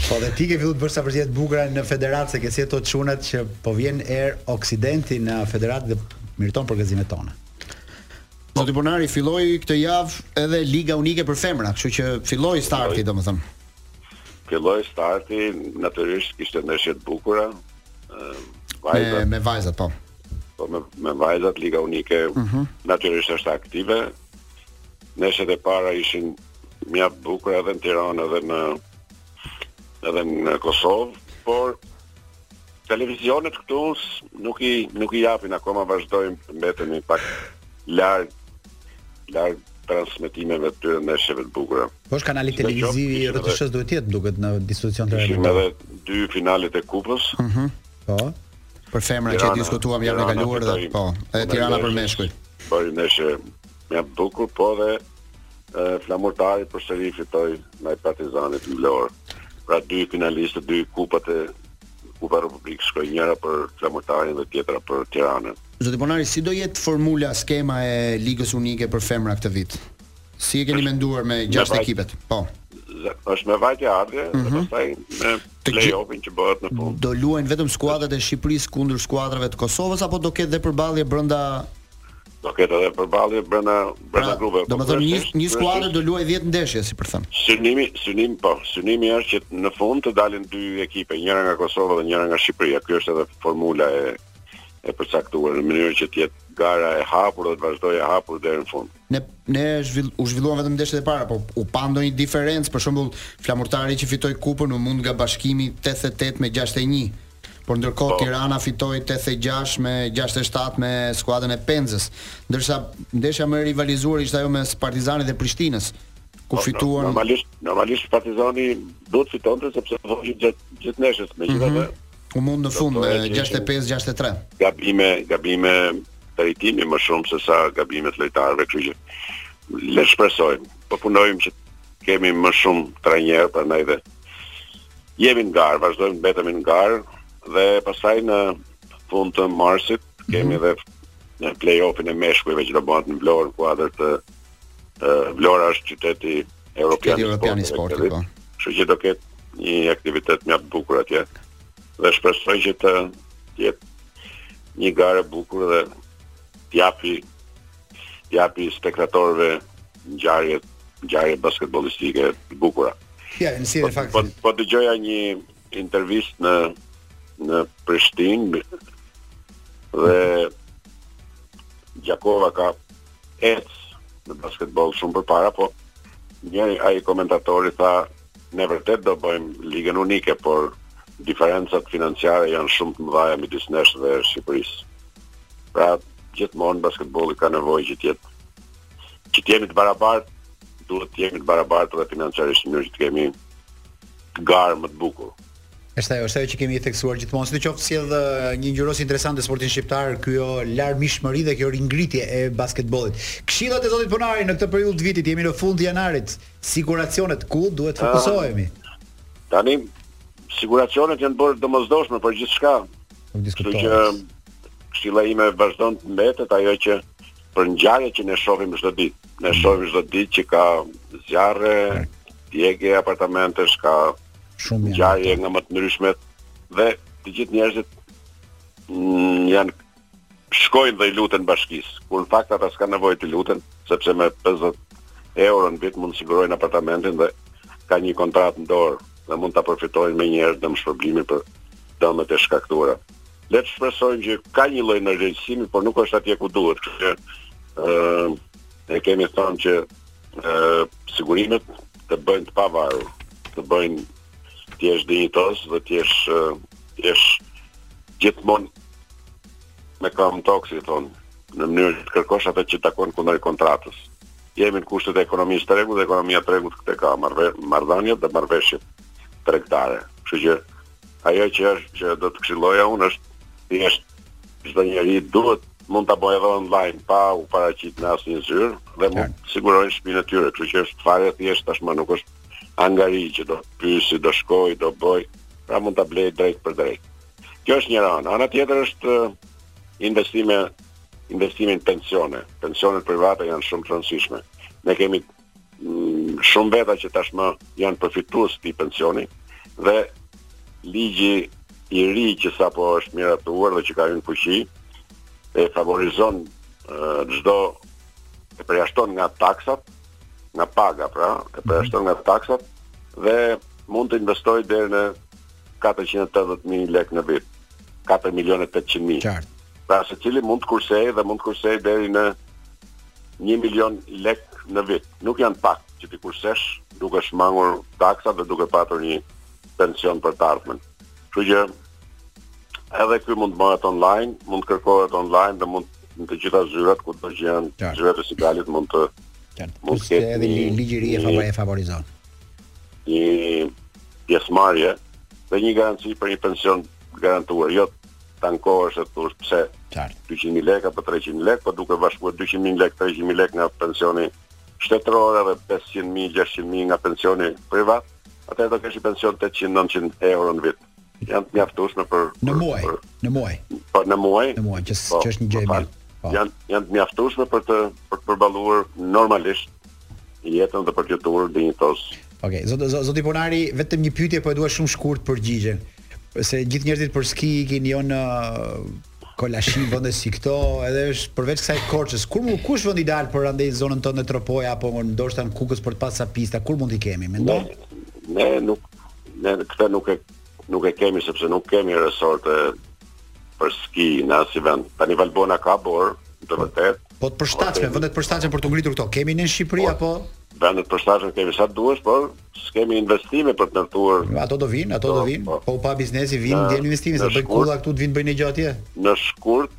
Po dhe ti ke filluar të bësh sa përzihet bukura në federatë se ke si ato çunat që po vjen er Oksidenti në federatë dhe miriton për gazimet tona.
Zoti Ponari filloi këtë javë edhe Liga Unike për Femra, kështu që filloi starti domethënë.
Filloi starti, natyrisht kishte ndeshje të bukura. ë,
Me,
Vajzat,
me vajzat po.
po me, me vajzat Liga Unike natyrisht është aktive. Ndeshjet e para ishin mjaft bukura edhe në Tiranë edhe në edhe në Kosovë, por televizionet këtu s- nuk i nuk i japin akoma vazhdojmë të mbetemi pak larg larg transmetimeve të tyre ndeshjeve të bukura.
Po është kanali
Çdo
televiziv i
qoftë, ishte
RTS-s duhet të jetë duket në distribucion të
Kishim
radios.
edhe dy finalet e kupës.
Po.
Për femra që
Tirana-
e diskutuam javën e
Tirana
kaluar dhe
fitoi.
po, edhe Tirana për meshkuj.
Bëri ndeshje mjaft bukur, po dhe e, flamurtari përsëri fitoi ndaj Partizanit në Vlorë. Pra dy finalistë, dy kupat e Kupa e Republikës shkoi njëra për flamurtarin dhe tjetra për Tiranën.
Zoti Ponari, si do jetë formula, skema e Ligës Unike për femra këtë vit? Si e keni menduar me gjashtë
vaj-
ekipet? Po.
Zë- është me vajtje ardhje dhe pastaj me
Të gjë-
play-offin që bëhet në fund.
Do luajnë vetëm skuadrat e Shqipërisë kundër skuadrave të Kosovës apo do ketë dhe përballje brenda
Do ketë edhe përballje brenda brenda grupe.
pra, Do të
Po,
thonë një
kryesisht-
një skuadër
kryesisht-
do luajë 10 ndeshje, si për thënë.
Synimi, synimi po, synimi është që në fund të dalin dy ekipe, njëra nga Kosova dhe njëra nga Shqipëria. Ky është edhe formula e e përcaktuar në mënyrë që të jetë gara e hapur dhe të vazhdojë e hapur deri në fund.
Ne ne zhvill, u zhvilluan vetëm ndeshjet e para, po u pa ndonjë diferencë, për shembull, flamurtari që fitoi kupën u mund nga bashkimi 88 me 61. por ndërkohë Tirana fitoi 86 me 67 me skuadrën e Penzës, ndërsa ndeshja më e rivalizuar ishte ajo mes Partizanin dhe Prishtinës,
Po,
ku fituan
Normalisht, normalisht Partizani duhet fitonte sepse voli gjatë gjithë neshës, megjithatë
Mhm. u mund në fund me 65-63.
gabime, gabime drejtimi më shumë se sa gabime të lojtarëve, kështu që le shpresojmë. Po punojmë që kemi më shumë trajnerë prandaj dhe jemi në garë, vazhdojmë mbetemi në garë dhe pastaj në fund të marsit kemi edhe në play-offin e meshkujve që do bëhet në Vlorë, në kuadër të të Vlora është qyteti
Keti
evropian i
Europian i
sportit,
sportit po.
Kështu që do ketë një aktivitet mjaft bukur atje. Dhe shpresoj që të të jetë një garë e bukur dhe të japi të japi spektatorëve ngjarje ngjarje basketbollistike të bukura.
Ja, në si e fakt.
Po po dëgjoja një intervistë në në Prishtinë dhe Gjakova ka ec në basketbol shumë përpara, po njëri ai komentatori tha ne vërtet do bëjmë ligën unike, por diferencat financiare janë shumë të mëdha midis nesh dhe Shqipërisë. Pra gjithmonë basketbolli ka nevojë që të jetë që të jemi të barabartë, duhet të jemi të barabartë dhe financiarisht në mënyrë që të kemi garë më të bukur.
Është ajo, është ajo që kemi i theksuar gjithmonë. Sidoqoftë sjell ë, një ngjyrosë interesante sportin shqiptar, kjo larmishmëri dhe kjo ringritje e basketbollit. Këshillat e zotit Ponari në këtë periudhë të vitit, jemi në fund të janarit. Siguracionet ku duhet të fokusohemi?
Tani siguracionet janë bërë domosdoshme për gjithçka.
Nuk
Kështu që këshilla ime vazhdon të mbetet ajo që për ngjarje që ne shohim çdo ditë.
Mm.
Ne shohim çdo ditë që ka zjarre, djegje apartamentesh, ka
shumë
ngjarje nga më të ndryshmet dhe të gjithë njerëzit mm, janë shkojnë dhe i luten bashkisë. Kur në fakt ata s'kan nevojë të luten, sepse me 50 euro në vit mund të sigurojnë apartamentin dhe ka një kontratë në dorë dhe mund ta përfitojnë me njerëz dëm shpërblimi për dëmet e shkaktuara. Le të shpresojmë që ka një lloj ndërgjegjësimi, por nuk është atje ku duhet. Kështu që ë ne kemi thënë që ë sigurimet të bëjnë të pavarur, të bëjnë të jesh dinjitos dhe të jesh ë, të jesh gjithmonë me kam tokë, si thonë, në mënyrë të kërkosh atë që takon kundër kontratës. Jemi në kushtet e ekonomisë të rregullt dhe ekonomia e rregullt këtë ka marrë marrëdhëniet dhe marrëveshjet tregtare. Kështu që ajo që është që do të këshilloja unë është thjesht çdo njeri duhet mund ta bëjë edhe online pa u paraqit në asnjë zyrë dhe mund të sigurojnë shtëpinë e tyre, kështu që është fare thjesht tashmë nuk është angari që do pyesi, do shkoj, do bëj, pra mund ta blej drejt për drejt. Kjo është një anë. Ana tjetër është ë, investime investimin pensione. Pensionet private janë shumë të rëndësishme. Ne kemi mm, shumë veta që tashmë janë përfitues të këtij pensioni dhe ligji i ri që sapo është miratuar dhe që ka hyrë në fuqi e favorizon ë, çdo e përjashton nga taksat, nga paga pra, e përjashton nga taksat dhe mund të investoj deri në 480.000 lekë në vit. 4 milionë 800
Qartë.
Pra se cili mund të kursej dhe mund të kursej deri në 1 milion lek në vit. Nuk janë pak që ti kursesh duke shmangur taksa dhe duke patur një pension për të ardhmen. Kështu që edhe ky mund të bëhet online, mund të kërkohet online dhe mund në të gjitha zyrat ku do që janë zyrat e sikalit mund të mund të ketë
Edhe
një-
ligjëri e
një-
favor- e favorizon.
një pjesëmarrje dhe një garanci për një pension garantuar, jo të ankohesh të thosh pse 200.000 lekë apo 300.000 lekë, po duke bashkuar 200.000 lekë, 300.000 lekë nga pensioni shtetëror edhe 500.000, 600.000 nga pensioni privat, atëherë do kesh një pension 800-900 euro në vit. Janë të mjaftueshme për
Në muaj, në muaj.
po në muaj. Po,
Në muaj, që s- që është një gjë e mirë. Po.
Janë janë të mjaftueshme për të për të përballuar normalisht jetën dhe për të jetuar dinjitos.
Okej, okay, zoti zoti Ponari, vetëm një pyetje, po e dua shumë shkurt përgjigjen. Se gjithë njerëzit për ski i keni jo në uh, kolashin vende si këto, edhe është përveç kësaj Korçës. Kur mu kush vend ideal për andej zonën tonë në Tropoja apo ndoshta në Kukës për të pasur pista, kur mund t'i kemi? Mendon?
Ne nuk ne këtë nuk e nuk e kemi sepse nuk kemi resorte për ski në asnjë vend. Tani Valbona ka bor, të vërtet,
Po të përshtatshme, vendet përshtatshme për të ngritur këto. Kemi në Shqipëri apo
vendet përshtatshme kemi sa duhesh, por s'kemi investime për të ndërtuar
Ato do vinë, ato do vinë. Po u pa biznesi vinë,
Në-
ndjen investimi, se
në
bëj
shkurt-
kulla këtu të vinë bëjnë një gjë atje.
Në shkurt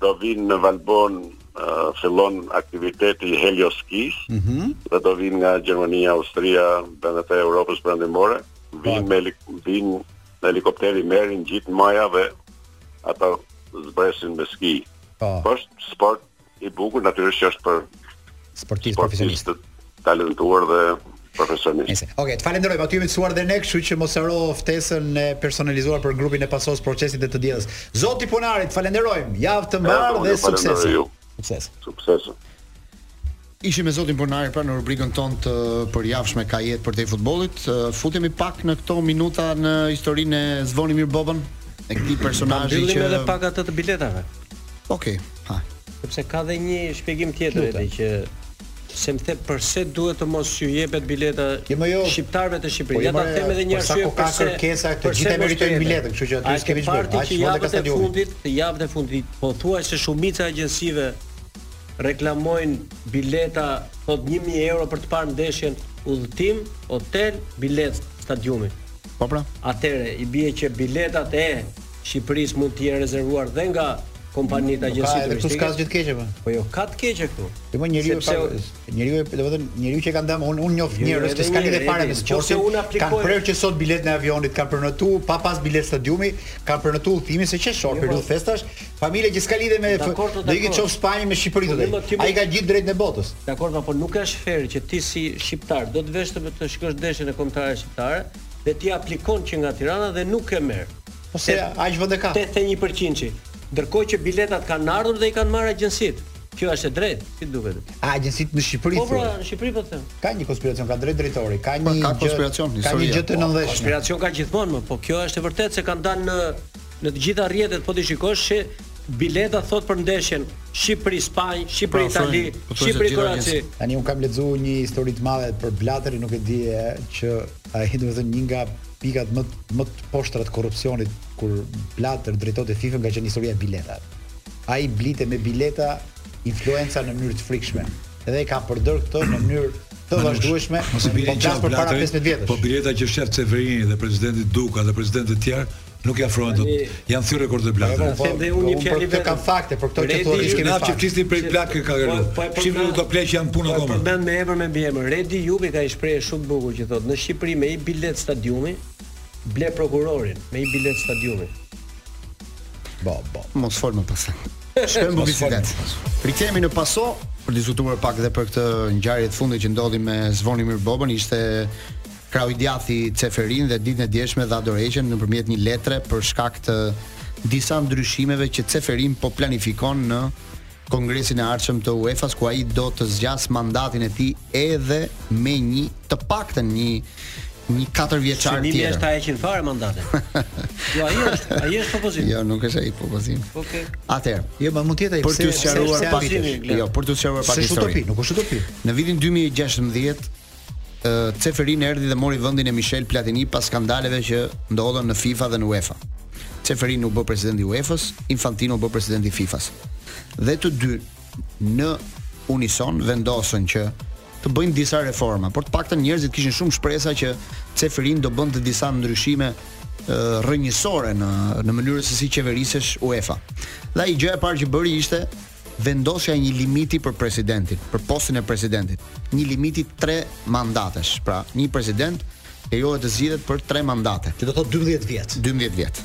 do vinë në Valbon uh, fillon aktiviteti i helioskis
Mhm.
dhe do vinë nga Gjermania, Austria, vendet e Europës perëndimore. Vinë me heli- vinë në helikopteri merrin gjithë maja dhe ata zbresin me ski. Po është sport i bukur, natyrisht që është për
sportist
profesionist talentuar dhe profesionist.
Okej, të falenderoj, aty jemi të suar dhe ne, kështu që mos haro ftesën e personalizuar për grupin e pasos procesit dhe të diellës. Zoti Punarit, falenderojmë. Javë të mbar
unë
dhe
ju falenderoj
sukses.
ju.
Sukses.
Sukses.
Ishim me zotin Ponari pra në rubrikën tonë të përjavshme ka jetë për te futbollit. Ë, Futemi pak në këto minuta në historinë e Zvonimir Bobën, e këtij personazhi
mbyllim
që
edhe pak atë të biletave.
Okej, ha.
Sepse ka dhe një shpjegim tjetër edhe që se më the pse duhet të mos ju jepet bileta shqiptarëve të
Jo, Po,
Shqipërisë.
jo,
Ja ta
more,
them edhe një
po, sa
arsye
ko ka kërkesa, këto gjithë e meritojnë biletën, kështu që aty s'kemi ç'bërë.
çfarë.
Aq,
Aq
vonte ka
javët e
stadiumi.
fundit, javët e fundit, po thuaj se shumica e agjensive reklamojnë bileta thot 1000 euro për të parë ndeshjen udhëtim, hotel, bilet stadiumi.
Po pra.
Atëre i bie që biletat e Shqipërisë mund të jenë rezervuar dhe nga kompanitë
Ka
agjensive
edhe këtu s'ka asgjë të keqe po.
Po jo, ka të keqe këtu.
Po më njeriu
Sepse-
ka njeriu e- domethënë njeriu që e ka ndam unë unë njoh
Jo, jo,
njerëz që
edhe
s'kan
një,
lidhje fare
edhe
me
një.
sportin.
Ose unë aplikoj-
Kanë prerë që sot biletën e avionit kanë prenotu pa pas bilet stadiumi, kanë prenotu udhimin se ç'është shor
Jo,
për
po.
rrugë festash, familje që s'ka lidhje me
Dakor, po,
do i
dakor.
qoftë Spanjë me Shqipërinë
Po,
do.
mirë, po, ti-
Ai ka gjithë drejtën e botës.
Dakor, ma, por nuk është fair që ti si shqiptar do të vesh të të shikosh ndeshjen e kombëtare shqiptare dhe ti aplikon që nga Tirana dhe nuk e merr.
Po se aq vende ka.
81% që. Ndërkohë që biletat kanë ardhur dhe i kanë marrë agjensitë. Kjo është e drejtë, si duket.
A agjencitë në Shqipëri.
Po pra,
thua.
në Shqipëri po të them.
Ka një konspiracion, ka drejt drejtori, ka një
Po, ka
gjë-
konspiracion,
Ka një
historia,
gjë të
po.
nëndheshme.
Konspiracion ka gjithmonë, më, po kjo është e vërtetë se kanë dalë në në të gjitha rrjetet po ti shikosh që bileta thot për ndeshjen Shqipëri Spanjë, Shqipëri
Pra,
Itali,
thonë, po thuaj se
Shqipëri
gjitha
Kroaci.
agjensitë. Tani un kam lexuar një histori të madhe për Blaterin, nuk e di e, që ai do të thënë një nga pikat më të- më të poshtra të korrupsionit kur Blater drejtonte FIFA nga qenë historia e biletave. Ai blite me bileta influenca në mënyrë të frikshme dhe e ka përdor këtë në mënyrë të
Manush,
vazhdueshme,
Mos e
po
bini
flas
që
për para
Blateri,
15 vjetësh.
Po bileta që shef Severini dhe presidenti Duka dhe presidentë të tjerë nuk i afrohen dot. Janë thyrë rekord
Po,
të Blaterit.
po, po, unë për këtë kam fakte, për këto që thua ti s'kemi
Na që
fakte.
flisni prej Blatë ka gërë.
Po, po e përmend-
Shifri do të plej që janë punë akoma.
Përmend me emër me mbiemër. Redi Jubi ka një shprehje shumë të bukur që thotë në Shqipëri me i bilet stadiumi ble prokurorin me i bilet stadiumi.
Bo, bo.
Mos fol më pas. Shkojmë në publicitet. Rikthehemi në paso për diskutuar pak edhe për këtë ngjarje të fundit që ndodhi me Zvonimir Bobën, ishte krau i djathi i Ceferin dhe ditën e djeshme dha dorëheqjen nëpërmjet një letre për shkak të disa ndryshimeve që Ceferin po planifikon në Kongresin e Ardhshëm të UEFA-s ku ai do të zgjas mandatin e tij edhe me një të paktën një një katër vjeçar
Synimi
tjetër.
është ta heqin fare mandatin. Jo, ai është, ai është opozit.
Jo, nuk është ai propozim.
Okej.
Atëherë,
Jo, më mund të jetë ai,
Për të
pse- pse-
sqaruar
pse
pak
ambitish?
Jo, për të sqaruar pak
S'është utopi,
historinë.
nuk është utopi.
Në vitin 2016 ë Ceferin erdhi dhe mori vendin e Michel Platini pas skandaleve që ndodhen në FIFA dhe në UEFA. Ceferin u bë president i UEFA-s, Infantino u bë president i FIFA-s. Dhe të dy në unison vendosën që të bëjnë disa reforma, por të paktën njerëzit kishin shumë shpresa që Ceferin do bënte disa ndryshime ë, rrënjësore në në mënyrën se si qeverisesh UEFA. Dhe ai gjë e parë që bëri ishte vendosja e një limiti për presidentin, për postin e presidentit. Një limiti 3 mandatesh. Pra, një president lejohet të zgjidhet për 3 mandate.
Që do thotë 12 vjet.
12 vjet.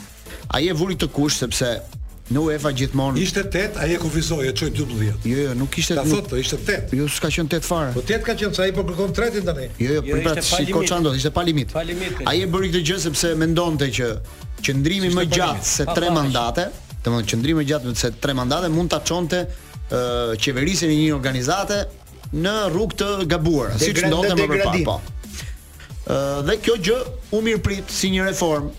Ai e vuri këtë kusht sepse në UEFA gjithmonë
Ishte 8, ai e kufizoi, e çoi 12.
Jo, jo, nuk ishte.
Ta
nuk-
thotë, ishte 8.
Jo, s'ka qenë 8 fare.
Po 8 ka qenë sa ai po kërkon tretin tani.
Jo, jo, për pra, si Koçando, ishte pa limit.
Pa limit, ka
Ai e bëri këtë gjë sepse mendonte që qëndrimi më
pa
gjatë
limit.
se
Pa
3
faqe.
mandate, domethënë qëndrimi më gjatë se 3 mandate mund ta çonte ë qeverisjen e një organizate në rrugë të gabuar, siç
Degrad-
ndodhte më parë,
degradim.
po. Ë dhe kjo gjë u mirëprit si një reform.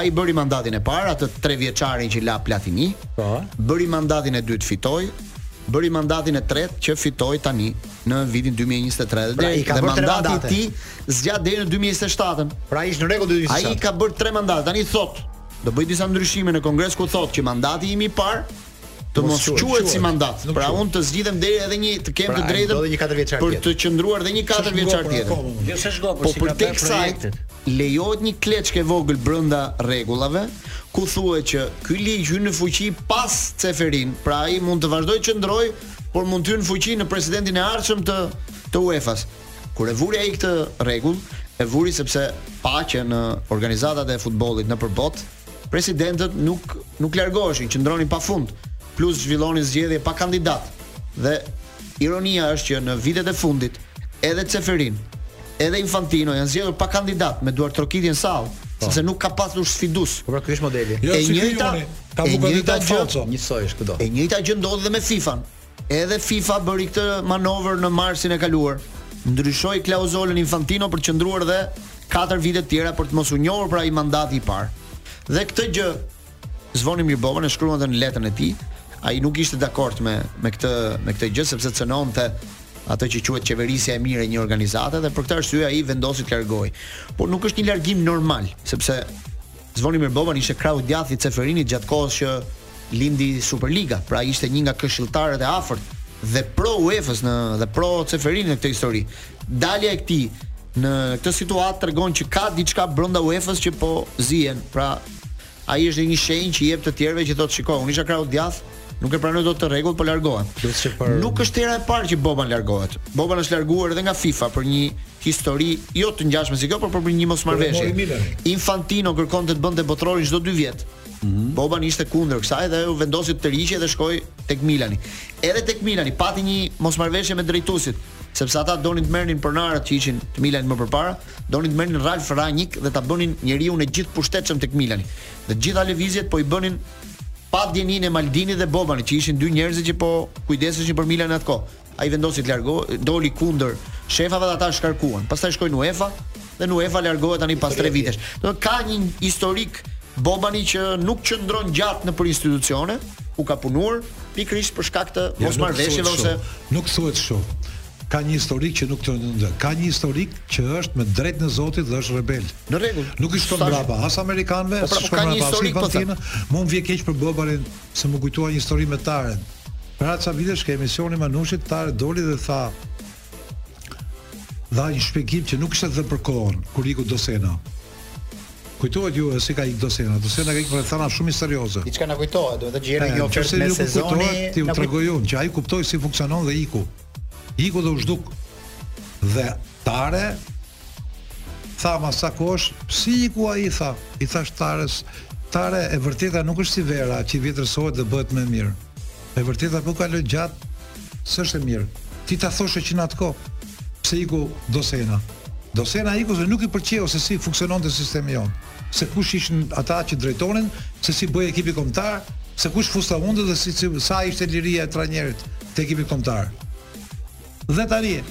Ai bëri mandatin e parë, atë 3 vjeçarin që la Platini. Po. Bëri mandatin e dytë fitoi, bëri mandatin e tretë që fitoi tani në vitin 2023
Pra, i ka
dhe
bërë tre
mandati
mandate.
i tij zgjat deri në 2027.
Pra ai ishte në rregull 2027.
Ai ka bërë 3 mandate. Tani thot, do bëj disa ndryshime në Kongres ku thot që mandati im i parë të mos quhet si mandat. Pra unë të zgjidhem deri edhe një të kem të drejtën për të qëndruar edhe një 4 vjeçar tjetër.
Jo se shko,
Po për tek kësaj lejohet një kleçkë e vogël brenda rregullave ku thuhet që ky ligj hyn në fuqi pas Ceferin, pra ai mund të vazhdojë të qëndroj, por mund të hynë në fuqi në presidentin e ardhshëm të të UEFA-s. Kur e vuri ai këtë rregull, e vuri sepse pa që në organizatat e futbollit nëpër botë, presidentët nuk nuk largoheshin, qëndronin pafund, plus zhvillonin zgjedhje pa kandidat. Dhe ironia është që në vitet e fundit edhe Ceferin, edhe Infantino janë zgjedhur pa kandidat me duar trokitjen sallë, sepse nuk ka pasur sfidus.
Po pra ky është modeli.
Jo, e njëjta
ka
e njëjta
bukur kandidat
gjë,
Falco.
Njësoj është kudo.
e njëjta gjë ndodhi dhe me FIFA-n. Edhe FIFA bëri këtë manovër në marsin e kaluar. Ndryshoi klauzolën Infantino për të qëndruar dhe 4 vite të tjera për të mos u njohur pra i mandati i parë. Dhe këtë gjë Zvoni Mirbova e shkruan dhe në letën e tij, ai nuk ishte dakord me me këtë me këtë gjë sepse cënonte atë që quhet qeverisja e mirë e një organizate dhe për këtë arsye ai vendosi të largohej. Por nuk është një largim normal, sepse Zvoni Mirboban ishte krau i djathtë i Ceferinit gjatë kohës që lindi Superliga, pra ishte një nga këshilltarët e afërt dhe pro UEFA-s në dhe pro Ceferinit në këtë histori. Dalja e këtij në këtë situatë tregon që ka diçka brenda UEFA-s që po zihen, pra ai është një shenjë që i jep të tjerëve që thotë shikoj, unë isha krau i djathtë, nuk e pranoj dot të rregull, po largohem.
Plus që për
Nuk është hera e parë që Boban largohet. Boban është larguar edhe nga FIFA për një histori jo të ngjashme si kjo, por për një
Por e mori
mosmarrëveshje.
Milanin.
Infantino kërkonte të bënte botrorin çdo 2 vjet. Boban ishte kundër kësaj dhe u vendosi të riqej dhe shkoi tek Milani. Edhe tek Milani pati një mosmarrëveshje me drejtuesit, sepse ata donin të merrnin pronarët që ishin të Milanit më përpara, donin të merrnin Ralf Rangnick dhe ta bënin njeriu në gjithë pushtetshëm tek Milani. Dhe gjitha lëvizjet po i bënin pa djeninë e Maldini dhe Bobanit që ishin dy njerëz që po kujdeseshin për Milan atko. Ai vendosi të largohej, doli kundër shefave dhe ata shkarkuan. Pastaj shkoi në UEFA dhe në UEFA largohet tani pas 3 vitesh. Do të thotë, ka një historik Bobani që nuk qëndron gjatë në për institucione, ku ka punuar pikërisht për shkak të
Ja,
mosmarrëveshjeve
nuk
ose
thuhet shumë. nuk thuhet shumë. Ka një historik që nuk të ndë. Ka një historik që është me drejtë në Zotit dhe është rebel.
Në rregull.
Nuk i shkon
Sa-
brapa as amerikanëve,
Po, pra,
as
po,
shkon
ka një
brapa as
historik, po,
Infantino. Mu më vjen keq për Bobarin se më kujtua një histori me Taren. Para ca vitesh ke emisioni Manushit, Tare doli dhe tha dha një shpjegim që nuk ishte dhe për kohën kur iku Dosena. Kujtohet ju e si ka ikë Dosena? Dosena ka ikë për thana shumë serioze.
diçka na kujtohet, do të thotë që jeni
E,
një
nëse
ofertë me
nuk u
sezoni.
kujtohet, Ti u
na kujt-
tregoj unë që ai kuptoi si funksionon dhe iku. Iku dhe u zhduk. Dhe tare tha ma sa kosh, si iku ai tha? I thash tares, tare e vërteta nuk është si vera që i vjetërsohet dhe bëhet më mirë. E vërteta po kalon gjatë, s'është e mirë. Ti ta thoshe që në atë kohë pse iku Dosena. Dosena iku se nuk i pëlqeu se si funksiononte sistemi jon. Se kush ishin ata që drejtonin, se si bëi ekipi kombëtar, se kush fusta mundet dhe si, si sa ishte liria e trajnerit te ekipi kombëtar. Dhe tani,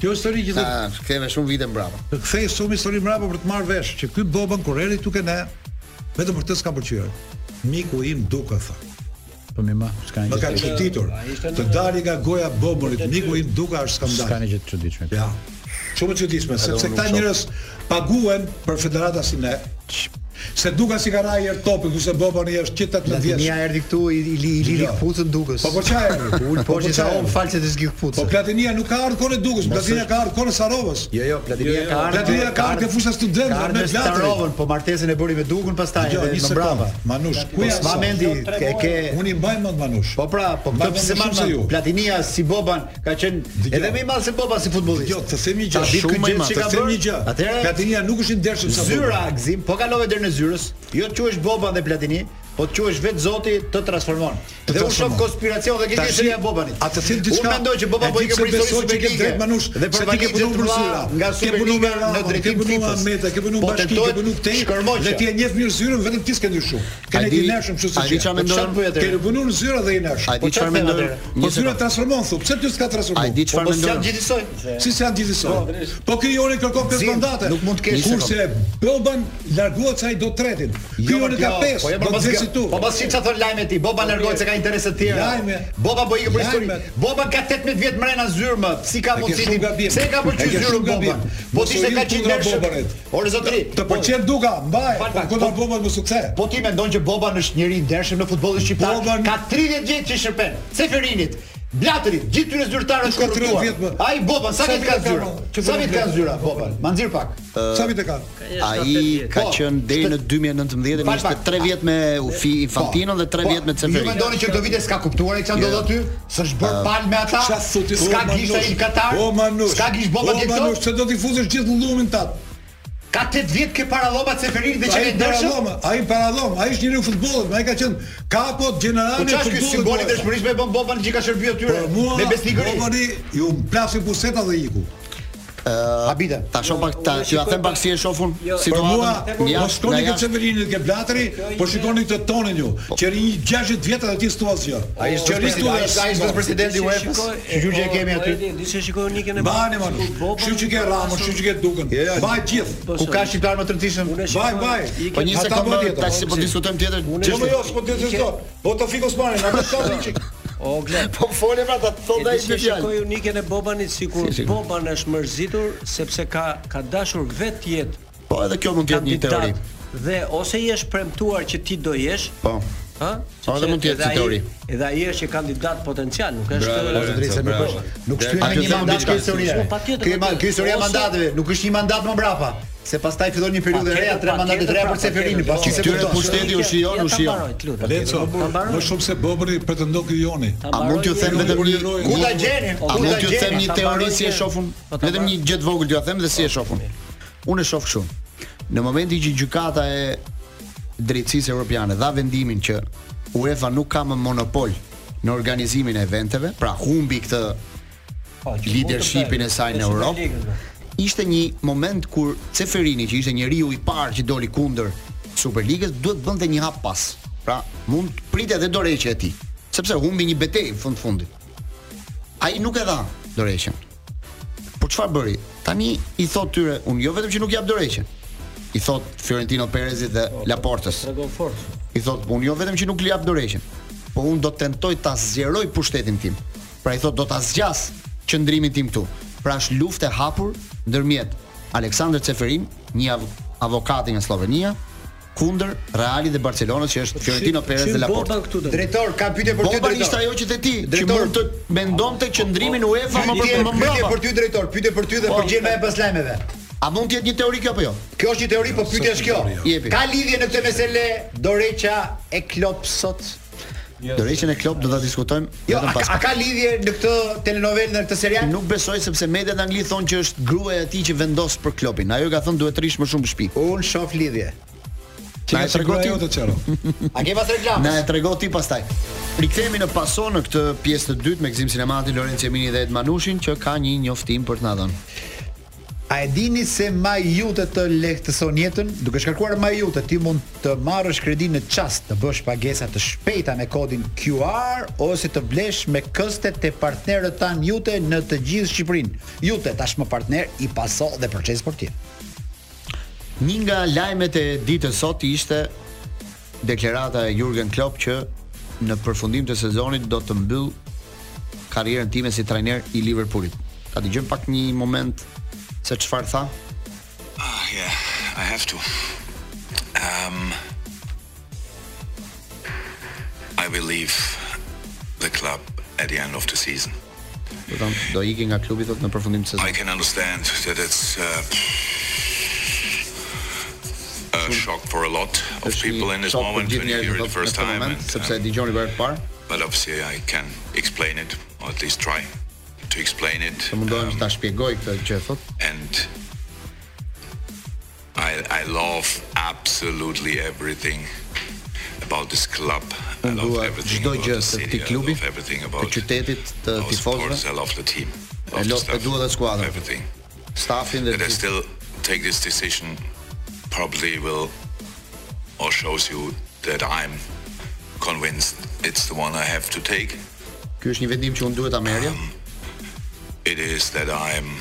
kjo histori që do
ta kthehemi shumë vite mbrapa.
të kthej shumë histori mbrapa për të marrë vesh që ky Boban kur erdhi tu ne vetëm për të s'ka pëlqyer. Miku im duka tha.
Po më ma, s'ka një.
Më ka
gjë të-
çuditur. Të dali nga goja Bobanit, miku im duka është skandal.
S'ka një gjë të çuditshme.
Ja. Shumë e çuditshme, sepse
unë
këta
nuk shoh.
njerëz paguhen për federata si ne. Se duka si ka rajë er topi, ku se Bobani është që 18 vjeç.
Platinia erdhi këtu i i i liri
Jo.
kputucën dukës.
Po për çfarë erdhi?
[laughs] Ul
Po
po
për
që sa
çfarë
on
erdhi?
false të zgjidh
Po
kputucën.
Platinia nuk ka ardhur kohën e dukës, Platinia ka ardhur kohën e Sarovës.
Jo, jo, Platinia
Jo, jo,
ka ardhur.
Platinia ka ardhur ke fusha studentëve me
me
Platinë.
Starovën, po martesën e bëri me Dukun pastaj
Jo,
edhe
një
më brapa.
sekondë. Manush, ku
Po
janë?
s'ma
sa?
mendi,
Jo, tre
ke
muaj.
ke
Unë i mbaj mend Manush.
Po pra, po
Ma
këtë pse
vjen
më
shumë se ju.
Platinia si Boban ka qenë
Dëgjoj.
edhe më i madh se Boban si futbollist.
Jo, të them një gjë,
Ta ditë
shumë
këtë
e
gjë
madhe.
që
Të
ka
them
bërë.
një gjë.
Atëherë
Platinia nuk është i ndershëm sa
zyra gzim, po kalove deri në zyrës. Jo të quhesh Boban dhe Platini, po të quhesh vetë Zoti të transformon. Dhe
Të
u shoh
transformon.
konspiracion dhe
Tashi,
këtë histori e Bobanit.
a të thim diçka?
Unë mendoj që Boban
E
po
di
i ke
pse
për histori
besoj që ke
Superligë.
drejt, Manush,
Dhe
se
për
ti ke
valixhet
punu
të
për
vlla
zyra.
nga
Ke punu me
Superliga
Ramon,
në
ke
drejtim Po
punu me
FIFA-s.
Meta, ke punu bashki, ke punu këtej,
shkërmoqja.
Dhe ti e njeh mirë zyrën, vetëm ti s'ke ndryshu. Ke
A
ne
di-
dinëshëm kështu
a
si
di çfarë mendon?
Ke punu në zyrë dhe i nëshëm.
A di çfarë mendon?
Po
Një
zyra
sekondë.
transformon thu, pse ti s'ka
A
transformuar?
di çfarë
Po
mendon?
s'janë gjithë soj.
Si se janë gjithë sot. Po ky joni kërkon 5
Zim,
mandate.
nuk mund të kesh
kurse Boban largohet sa i do tretin. Ky
Jo,
joni ka
jo,
5.
po jo, po
do të
mos
vdes si tu.
Po mos çfarë thon lajmet ti, Boba largohet se ka interese të tjera.
Lajme.
Boba po bëi për histori.
Lajmet.
Boba ka 18 vjet mrena zyrmë, si ka
E ke
mundësi?
shumë gabim.
Pse e ka
E ke
pëlqyer zyrën
shumë
Boba?
gabim.
Po
Mos
ti
u
se
hyj
ka
kundra
qindërshëm.
Bobarit.
Orë zotri.
Të pëlqen Duka, mbaj.
Fal,
Po
fal,
kundra
po-
Bobës me sukses.
Po ti mendon që Boba është njëri i ndershëm në futbollin shqiptar?
Boba në-
Ka 30 vjet që shërben. Seferinit, Blaterit, gjithë tyre zyrtarëve
Nuk
të
ka 30 vjet,
korruptuar.
më.
Ai Boba, sa
Sa
vjet
vite
ka
ka,
zyra?
mo? Që
Sa
bëre
vit ka
Blatter?
zyra Boba? Ma nxir pak.
Sa vite ka?
Ai ka
Po,
qenë deri në 2019 dhe
Fal
ishte
pak.
3 vjet me Ufi Infantino dhe 3 vjet me
Po, Ju
Ceferin.
mendoni që këto vite s'ka kuptuar e çfarë ndodh aty? S'është bërë palë me ata?
Çfarë thotë?
S'ka gisht ai në Katar?
O Manush.
S'ka gisht bomba
O Manush,
ditë?
se do t'i fuzësh gjithë llumin tat.
Ka 8 vjet ke para lloma Ceferin dhe që
Ai
e ndershëm?
paradhom, ai paradhom, ai është njëri i futbollit, ai ka qenë kapo
Po
gjenerali i
çfarë ky
futbollit.
simboli
more.
dëshmërisht me bën bomba në gjika shërbi atyre
Për Po, mua,
me besnikëri.
Bobani ju mplasin puseta dhe iku.
Habite.
Ta shoh pak ta, që ta
unë shikoj
them pak
pak-
si e shohun
Për mua,
situatën.
mos
jashtë,
shkoni
nga
këtë
jashtë. Po.
Severinit ke Blatri, po shikoni këtë tonin ju. Që ri 60 vjet edhe ti s'tua asgjë.
Ai është
Që ri
presidenti,
s'tua
ai është- ai është
asgjë.
presidenti i UEFA-s. Gjurgje e kemi aty.
Disi shikoj Nikën e
Bani më. Kështu që ke Ramon, kështu që ke Dukën. Baj gjithë.
Ku ka shqiptar më të rëndësishëm?
Baj, baj.
Po një
Ata
sekondë
bën tjetër.
tash po diskutojmë tjetër.
Jo, [laughs] jo, s'po të thënë sot. Po të fik Osmanin, na bëj kafe çik.
O Glen.
Po fole pra ta thonë ai me
Disi
fjalë.
shikoj Nikën e Bobanit sikur Boban është mërzitur sepse ka ka dashur vetë jetë
Po edhe kjo mund të jetë një teori.
kandidat dhe ose i është premtuar që ti do jesh,
Po.
ha?
Po, edhe mund të jetë
Edhe
si
ai-
teori.
Edhe ai është që kandidat potencial, nuk
Bravo,
është
Lorenzo,
drejtë se nuk
bravo.
është. Nuk
Dhe-
shtyen
Aty
me një
thon
mandat
diçka.
kjo historia.
Po, patjetër,
Ky ma-
patjetër.
ky historia e
Ose-
mandateve, nuk është një mandat më brapa, se pastaj fillon një periudhë e re,
Patjetër,
tre mandate të reja për
patjetër,
Ceferinin,
patjetër,
pasi
po.
se
Tyre
kupton.
pushteti u shijon, u shijon.
Leco, po, më shumë se Bobri pretendon ky Joni.
A mund t'ju them vetëm një
Ku ta gjeni?
A
Ku
mund
ta
t'ju them
gjeni?
një
ta
teori
mbaroj
si e
një-
shohun?
Po, ta Po,
Vetëm
mbaroj.
një gjë të vogël t'ju them dhe si e shohun. Unë e shoh kështu. Në momentin që gjykata e drejtësisë europiane dha vendimin që UEFA nuk ka më monopol në organizimin e eventeve, pra humbi këtë
Po,
leadershipin e saj në Europë. Ishte një moment kur Ceferini, që ishte njeriu i parë që doli kundër Superligës, duhet bënte një hap pas. Pra, mund të pritet edhe dorëqja e tij, sepse humbi një betejë fund fundit. Ai nuk e dha dorëqjen. Por çfarë bëri? Tani i thot tyre, unë jo vetëm që nuk jap dorëqjen. I thot Fiorentino Perezit dhe Laportës.
Tregon fort.
I thot, unë jo vetëm që nuk li jap dorëqjen, po unë do të tentoj ta zgjeroj pushtetin tim. Pra i thot do ta zgjas qëndrimin tim këtu. Pra është luftë e hapur ndërmjet Aleksandr Ceferin, një av avokati nga Slovenia, kundër Reali dhe Barcelonës që është Fiorentino Perez dhe Laporta.
Boban këtu do.
Drejtor, ka pyetje për ty
Bomba ishte
drejtor.
ajo që te ti, që
Drejtor-
mund të mendonte qëndrimin UEFA më
Pyetje
më
pyetje për
mbrapa.
ty drejtor, pyetje për ty dhe përgjigj më e pas lajmeve.
A mund të jetë një teori kjo apo jo?
Kjo është një teori, po pyetja është kjo.
Jepi.
Ka lidhje në këtë mesele Doreqa e Klop sot?
Dorëqjen e Klopp do ta diskutojmë
Jo,
vetëm
a,
pas.
a ka lidhje në këtë telenovel në këtë serial?
Nuk besoj sepse mediat në Angli thonë që është gruaja e atij që vendos për Kloppin. Ajo ka thënë duhet të rish më shumë në shtëpi.
Unë shoh lidhje.
Na e tregoi ti.
ajo të çero.
A ke pas reklamës?
Na e tregoi ti pastaj. Rikthehemi në paso në këtë pjesë të dytë me Gzim Sinemati, Lorenzo Emini dhe Ed Manushin që ka një njoftim për të na dhënë.
A e dini se ma jute të lehtëson jetën? Duke shkarkuar ma jute, ti mund të marrësh kredi në qast, të bësh pagesa të shpejta me kodin QR ose të blesh me këstet të partnerët tan jute në të gjithë Shqipërinë. Jute tashmë partner i paso dhe proces për ti.
Një nga lajmet e ditës sot ishte deklarata e Jurgen Klopp që në përfundim të sezonit do të mbyll karrierën time si trajner i Liverpoolit. Ta dëgjojmë pak një moment se çfarë tha.
Ah, Yeah, I have to. Um, I will leave the club at the end of the season.
Do të do iki nga klubi thotë në përfundim të
I
sezonit.
can understand that it's uh, a shock for a lot of
Është
people
një
in this
shok për
moment
gjithë
when you
njerëzit
hear it
thotë
the
në
first
këtë
time.
moment,
and,
sepse
uh,
e dëgjoni për herë të parë.
but obviously, I can explain it, or at least try to explain it.
Të mundohem
Um,
ta shpjegoj këtë që e thot.
and I, I love absolutely everything about this club. I
Unë
love
dua
everything
çdo
about the
gjë të
city.
këtij
I
klubi,
love everything
të
about
qytetit, të
our supporters. I
tifozëve,
love the team.
e
Love the
lo- e
staff.
dua dhe skuadrën.
Everything.
stafin dhe
And I still take this decision probably will or shows you that I'm convinced it's the one I have to take.
ky është një vendim që unë duhet ta merrja.
Um, It is that I'm.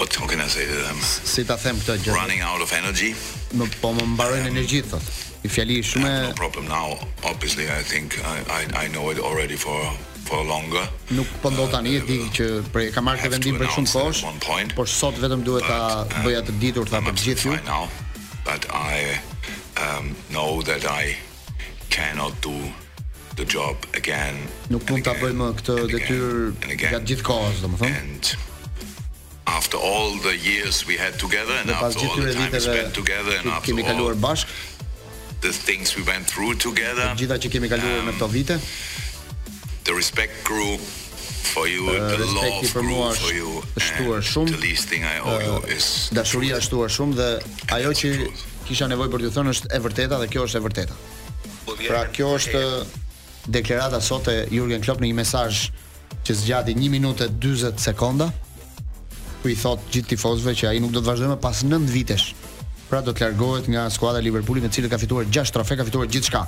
What how can I I say to them?
Si ta them këtë gjë?
Running out of energy.
Më po më mbarojnë energjitë thot. I fjali shumë
No problem now. Obviously, I think I I, I know it already for for longer.
nuk po ndodh tani e di që prej ka marrë këtë
have to
vendim për shumë
announce it at
kohësh,
one point. um,
por sot vetëm duhet ta bëja të ditur ta për gjithë ju.
Right now, but I um, know that I cannot do the job again.
Nuk mund ta bëj më këtë detyrë gjatë gjithë kohës, domethënë.
After all the years we had together, and
Dhe pas
after
gjithë
all the
këtyre
time we
viteve
spent together, and
që
after
kemi
all
kaluar bashkë,
the things we went through together,
gjitha që kemi kaluar
Um,
me këto vite,
the respect grew for you,
eh,
the
respekti
love
për mua
grew for
është
you,
është shtuar shumë.
the least thing I owe you
eh,
is
Dashuria është shtuar shumë dhe ajo që kisha nevojë për t'ju thënë është e vërteta dhe kjo është e vërteta. Pra kjo është deklarata sot e Jurgen Klopp në një mesazh që zgjati 1 minutë e 40 sekonda ku i thot gjithë tifozëve që ai nuk do të vazhdojë më pas 9 vitesh. Pra do të largohet nga skuadra e Liverpoolit me të cilën ka fituar 6 trofe, ka fituar gjithçka.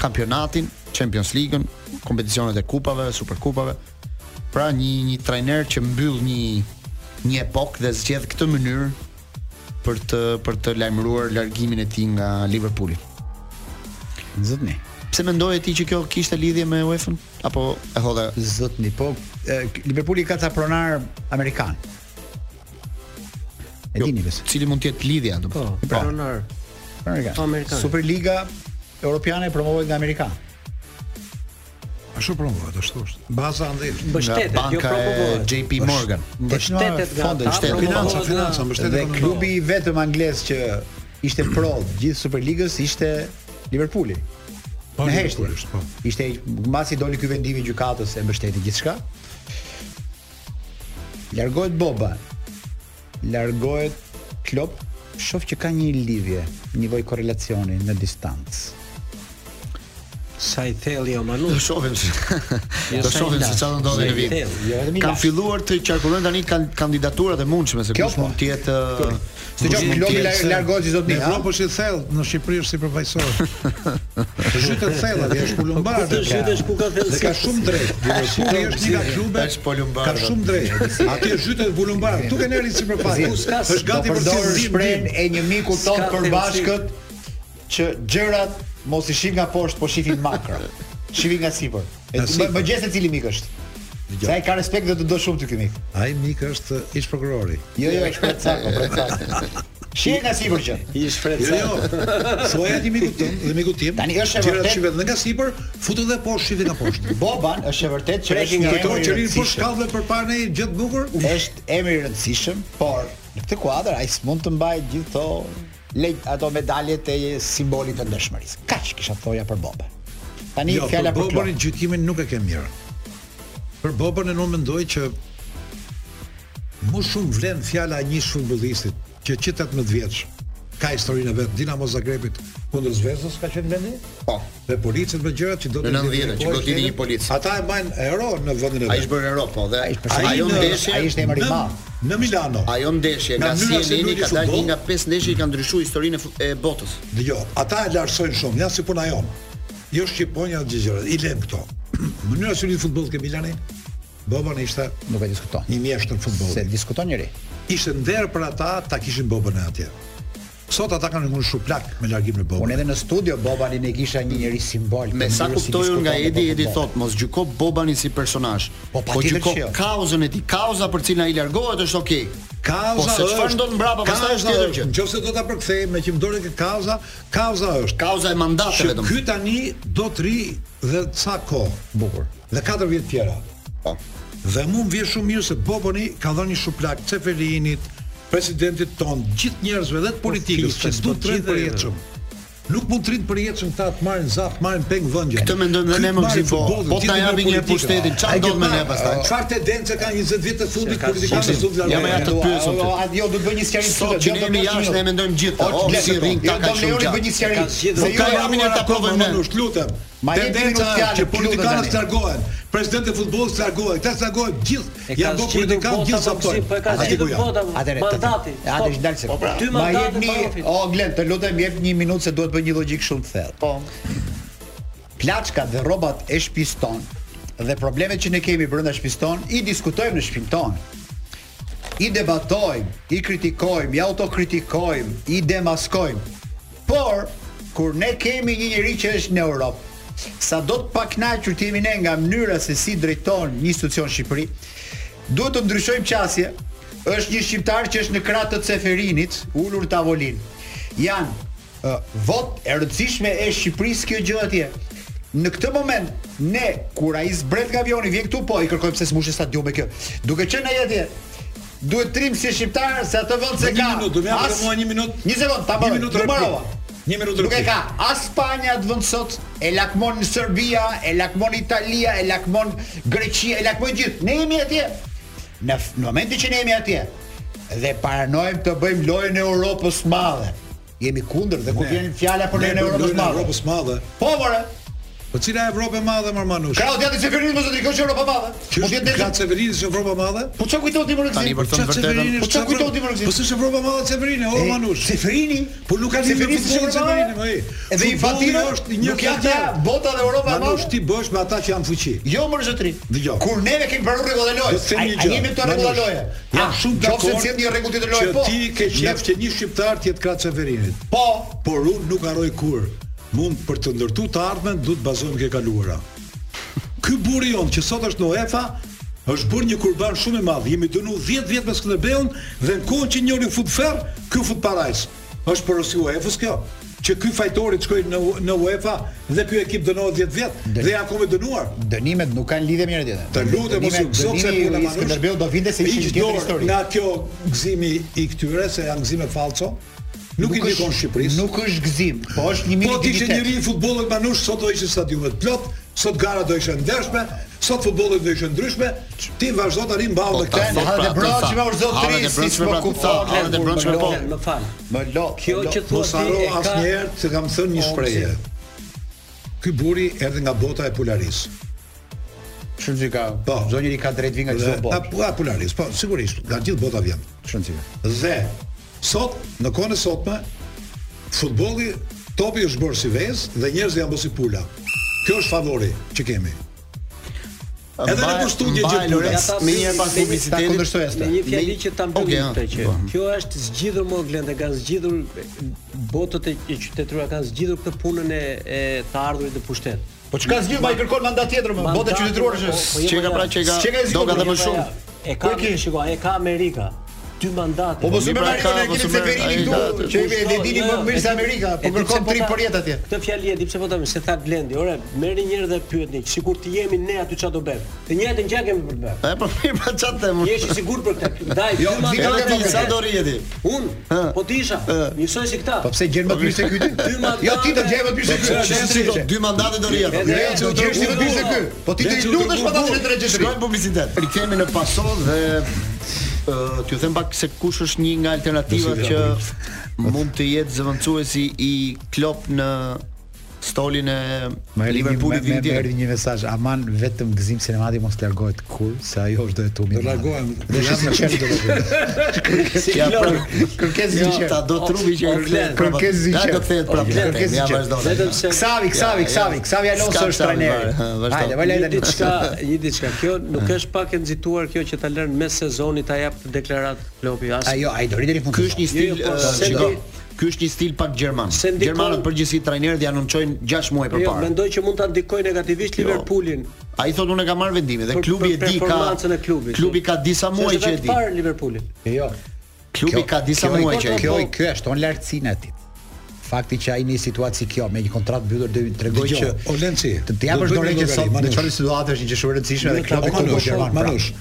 Kampionatin, Champions League-ën, kompeticionet e kupave, superkupave. Pra një një trajner që mbyll një një epokë dhe zgjedh këtë mënyrë për të për të lajmëruar largimin e tij nga Liverpooli.
Zotni.
Pse mendoje ti që kjo kishte lidhje me UEFA-n apo e hodhe
zotni? Po e, Liverpooli ka ca pronar amerikan. E dini besoj.
Cili mund të jetë lidhja do? Po,
pronar. Amerikan.
Amerikan.
Superliga Europiane promovohet nga Amerika.
Ashtu promohet, ashtu është. Baza andhesh.
Mbështetet, jo
Nga banka e
promovohet.
JP
Është-
Morgan.
Mbështetet nga
Fonde,
ata,
shteti.
promovohet
Financa,
nga-
financa, mbështetet
Dhe
nga
klubi i vetëm anglez që ishte pro gjithë Superligës ishte Liverpooli.
Po,
Në
Liverpooli
heshtje.
është, po.
Ishte mbasi doli ky vendimi i gjykatës e mbështeti gjithçka. Largohet Boba. Largohet Klopp. Shoh që ka një lidhje, një lloj korrelacioni në distancë.
Sa i jo, thelli o manu. Do
shohim.
Jo,
Do shohim se çfarë do ndodhi në vit. Jo, vetëm i
Kan
lashtë.
filluar të qarkullojnë tani kan kandidaturat e mundshme se
Kjo
kush
po.
mund të jetë uh,
Kjo. Se gjo, Klopi lar- largohet si zotni,
Në
ha?
Evropë është i thellë, në Shqipëri është si përfaqësor. Të zhytet thella, dhe është kulumbar.
Ku Po, të zhytesh, ku ka thellësi?
Dhe ka shumë
[laughs]
drejt. Liverpooli është një nga klube.
Tash po lumbar,
Ka shumë drejt. Atje zhytet vulumbar. Tu kanë erë sipërfaqe. Është gati për të
përdorur shprehën e një miku ton
S'ka
përbashkët që gjërat mos i shih nga poshtë, po shifin makro. Shifi nga sipër. E-
Nga
Më
sipër.
më gjes se cili mik është. Se ai ka respekt dhe të do shumë ty ky mik.
Ai mik është ish prokurori.
Jo, jo, është pret sako, pret sako. Shih nga sipër që.
I shpret
Jo, [laughs] jo. Thuaj atë miku tim, dhe miku tim.
Tani është e
tjera
vërtet-
shivet dhe nga sipër, futu dhe poshtë, shivet nga poshtë.
Boban është e vërtet që është një
Kujto
emër i
që rin po
rëndësishëm.
shkallëve përpara ne gjithë bukur.
Është emër i rëndësishëm, por në këtë kuadër ai s'mund të mbajë gjithë to lej ato medaljet e simbolit të ndershmërisë. Kaq kisha thoja për Boban. Tani
Jo,
fjala për
Boban
Klopp.
gjykimin nuk e kem mirë. Për Boban e unë mendoj që më shumë vlen fjala e një futbollisti që që 18 vjeç ka historinë e vet Dinamo Zagrebit kundër Zvezdës ka qenë vendi?
Po.
Dhe policët me gjërat që do
Në 90-ën, që
kohë
gotini
shkelin,
një polic.
Ata e bajnë hero në vendin e vet.
Ai është bërë Europë, po, dhe
Ai
ajo
në-
ndeshje
ai ishte emër i
në-
madh. Në Milano.
Ajo ndeshje
Nga
nga
mënyra se
CNN
luajti
ka dalë një
futboll.
nga pesë ndeshje që kanë ndryshuar historinë e fu- e botës.
Dgjoj, jo, ata e lartësojnë shumë, janë si puna jonë. Jo shqiponja gjë gjëra, i lëm këto. [clears throat] Mënyra se luajti futboll ke Milani, Boban ishte
nuk e diskuton.
Një mjeshtër futbolli.
Se diskuton njëri.
Ishte nder për ata, ta kishin Boban atje. Sot ata kanë ngulur shuplak me largimin e Boban.
Unë edhe në studio Bobanin e kisha një njerëz simbol.
Me
për
sa
mënyrën si
kuptoj unë nga
diskuton
Edi,
për
Edi
futboll.
thot, mos gjyko Bobanin si personazh. Po,
patjetër
gjyko
që jo.
kauzën e tij. Kauza për cilën ai largohet është okay.
Kauza
po se çfarë
është-
ndon mbrapa, pastaj
kauza
është tjetër gjë.
është, Nëse do ta përkthej me që më dorë ke kauza, kauza është.
Kauza e mandateve,
Që
domethënë.
Ky tani do të ri dhe ca kohë.
Bukur.
Dhe 4 vjet tjera.
Po.
Dhe mu më vjen shumë mirë se Boboni ka dhënë një shuplak Ceferinit, presidentit ton, gjithë njerëzve dhe të politikës që
fitës,
du
po,
të rinë
gjithë e-
përjetshëm. Nuk mund të rinë përjetshëm këta të marrin zap, marrin peng vëndje.
Këtë mendojmë dhe ne, më Gzim, po, po t'na japin një pushtetin, çfarë
Ai ke
ndodh me ne
parë,
pastaj?
Çfarë tendencë kanë 20 vjet të fundit
ka-
politikanë
Gzim,
zot largohen?
ja, ma ja të pyesëm
O,
ty.
a jo do të bëj një sqarim
Sot që ne jemi jashtë, ne mendojmë gjithë, o, si rrin këta ka shumë
gjë.
gjatë.
bëj një sqarim.
Ka zgjedhur. Po, ka jamin e ta provojmë ne.
Manush, lutem.
Ma jep një
Tendenca
minutë
është
fjalë,
që
lutem
politikanët
tani.
të largohen, presidenti i futbollit të largohet, këta të largohen gjithë.
E ka
Janë do
zgjedhur
politikanë
vota,
gjithë
po,
saptojnë.
Gzim, po e ka
Atje ku
zgjedhur
janë.
vota,
Atëre,
mandati.
Atëre,
Po,
dal se.
po, pra, dy
Ma
mandate
jepni,
pa ofit.
o Glen, të lutem jep një minutë se duhet bëj një logjik shumë të thellë. Po. Plaçkat dhe rrobat e shtëpisë tonë dhe problemet që ne kemi brenda shtëpisë tonë i diskutojmë në shtëpinë tonë. i debatojmë, i kritikojmë, i autokritikojmë, i demaskojmë. Por kur ne kemi një njerëz që është në Europë, sa do të paknaqur të jemi ne nga mënyra se si drejton një institucion Shqipëri, duhet të ndryshojmë qasje. Është një shqiptar që është në krah të Ceferinit, ulur tavolinë. Janë uh, vot e rëndësishme e Shqipërisë kjo gjë atje. Në këtë moment, ne kur ai zbret nga avioni vjen këtu, po i kërkojmë se smushë stadiumi kjo. Duke qenë ai atje, duhet trim si shqiptar se atë vend se
Një
ka.
minutë, do më japë
as-
mua një minutë.
Një sekond, ta
Një
bëj.
minutë
Një
replik.
minutë.
Një minutë
Nuk e
replik.
ka as Spanja atë vend sot, e lakmon në Serbia, e lakmon Italia, e lakmon Greqia, e lakmon gjithë. Ne jemi atje. Në, f- në momentin që ne jemi atje dhe paranojmë të bëjmë lojën e Europës së madhe. Jemi kundër dhe kur
Ne-
vjen fjala për
ne
lojën e
bëjmë
Europës
lojën
së
e
madhe.
Europës së madhe.
Po, more.
Po cila Evropë e madhe më Manush?
Krau gjatë Seferinit mos e drejkoj që Europa e madhe.
Mund të jetë gjatë Seferinit është Evropa e madhe?
Po çka kujton ti më rëndësi?
Çfarë Seferini
Po
është
çka
Evropa-
kujton ti më rëndësi?
Po s'është Evropa e madhe Seferini, o
E,
Manush.
Seferini?
Po nuk ka lidhje me
Seferini s'është Evropa e
futbollin Seferini,
madhe?
më i.
Edhe
Futbolli
Infantino,
është një
nuk janë
fjalë.
ja bota dhe Europa e
Manush
madhe?
ti bësh me ata që janë fuqi.
Jo më zotri.
Dgjoj.
Kur neve kemi bërë rregull dhe
Do
lojë.
të them
Ai
një
ai
gjë.
jemi këto
Manush,
rregull dhe loje.
Jam shumë dakord.
Nëse sjell një rregull tjetër loje,
po.
po.
Ti ke qef që një shqiptar të jetë kratë Severinit.
Po,
por unë nuk harroj kur. Mund për të ndërtu të ardhmen duhet bazojmë ke kaluara. Ky burri jon që sot është në UEFA është bërë një kurban shumë i madh. Jemi dënu 10 vjet me Skënderbeun dhe në kohën që njëri fut ferr, ky fut parajs. Është porosi UEFA-s kjo që ky fajtori të shkojë në në UEFA dhe ky ekip dënohet 10 vjet dhe janë akoma dënuar.
Dënimet nuk kanë lidhje me njëra tjetrën.
Të lutem mos u gëzo pse puna
Manush. Skënderbeu do vinte se ishin tjetër histori.
Nga kjo gëzimi i këtyre se janë gëzime falso, nuk, i dikon Shqipërisë.
Nuk është gëzim, po është një
Po ti ishe
mirë
njëri i futbollit Manush, sot do ishin stadiumet plot, sot gara do ishin ndershme, sot futbolli do ishte ndryshme, ti vazhdo tani
Po
Po
mbau me këtë.
Hadhe brëndshme o zotri, si
pra,
s'po kupton.
po.
Më fal.
Më lo.
Kjo
Lo,
Jo, që thua
mos
ti
haro
e ka-
asnjëherë se kam thënë një
Po,
shprehje. Ky buri erdhi nga bota e Polaris.
Shumë që ka,
po,
çdo njeri ka drejt vi nga çdo
Dhe-
botë.
nga- Nga Polaris, po sigurisht, nga gjithë bota vjen.
Shumë që.
Dhe sot, në kohën e sotme, futbolli topi është bërë si vezë dhe njerëzit janë bërë si pula. Kjo është favori që kemi. Edhe në për studje gjithë
Lorenz, Po,
pula.
me një herë pas publicitetit, me një fjali
Me-
që ta mbyll
Okej,
këtë
ha,
që.
po.
Kjo është zgjidhur më glenda, kanë zgjidhur botët e e qytetarëve kanë zgjidhur këtë punën e e të ardhurit të pushtet.
Po çka zgjidh, ma i kërkon mandat tjetër më, bota
Mandati,
qytetarore
po, po,
është.
jemi
pra,
ja.
Çka e zgjidh?
Po, jemi ja. E ka, shiko, e ka Amerika. Dy mandate.
Po mos i merr në ekipin Seferini këtu, që jemi edhe dini më mirë se Amerika, po kërkon trim për jetë atje.
Këtë fjalë e di pse po them se tha Blendi, ore, merrni një herë dhe pyetni, sikur të jemi ne aty çfarë do bëjmë. Të njëjtën gjë kemi për të bërë.
E po mirë pa çfarë them.
Je i sigurt për këtë? Daj,
Jo,
dy mandate
zgjidhja ti,
do
sa
ketë.
do rrihet ti?
Un, po të isha, njësoj si këta.
Po pse gjen më të mirë se ky ti?
Dy mandate.
Jo ti do gjej më të mirë se
Po, pse gjen si
ky.
do- dy mandate do rrihet.
Jo, jo, do gjesh ti më të mirë se ky. Po ti të lutesh pa ta të drejtë.
Shkojmë publicitet. Rikthehemi në paso dhe ë, t'ju them pak se kush është një nga alternativat
Mos i
që
vjen
mund të jetë zëvendësuesi i Klopp në stolin e
Më erdhi një
Liverpoolit
më
vitin
më
tjetër.
erdhi një mesazh, aman vetëm gëzim sinemati mos largohet kur, se ajo është do të tumi.
Do largohem.
Do jam
Jam-
sinqer do të.
Si Ja, Klopp.
[laughs]
pra-
Kërkes
Jo,
sinqer.
ta do trupi që e flet.
Kërkes
Ja,
sinqer.
do kthehet prapë.
Kërkes
Ja,
sinqer.
vazhdo.
Ksavi, Ksavi,
Ja, ja.
Ksavi, Ksavi Alonso
Ska
është
Xavi,
trajneri.
vaj, ha, vazhdo.
Hajde, vaj
Një
lajta
diçka, një diçka. Kjo nuk është pak e nxituar kjo që ta lënë mes sezonit ta jap të deklarat Klopi as.
Ajo, ai do rritë në fund.
Ky është një stil,
Jo, jo, po,
ë,
se
shiko.
ndi-
Ky është një stil pak gjerman.
Se ndikon-
Gjermanët përgjithësi trajnerët i anoncojnë 6 muaj
Jo,
përpara.
mendoj që mund ta ndikoj negativisht Liverpoolin.
Ai thotë unë e kam marr vendimin dhe
Për-
klubi e
për
di ka
performancën e klubit. jo.
Klubi ka disa
Se
muaj
është
që e
vetë
di.
parë Liverpooli.
Jo.
Klubi ka disa
kjo-
muaj që e di.
kjo kjo e shton lartësinë atit. Fakti që ai në një situatë si kjo me një kontratë mbyllur do i tregoj
Dgjoj,
që
o Lenci,
të të
do
japësh
bëjmë
dorë
një
që
llogari,
sot në
Manush.
çfarë situatë është që shumë e rëndësishme dhe klubi
Manush,
këtu gjerman. pra.
Manush,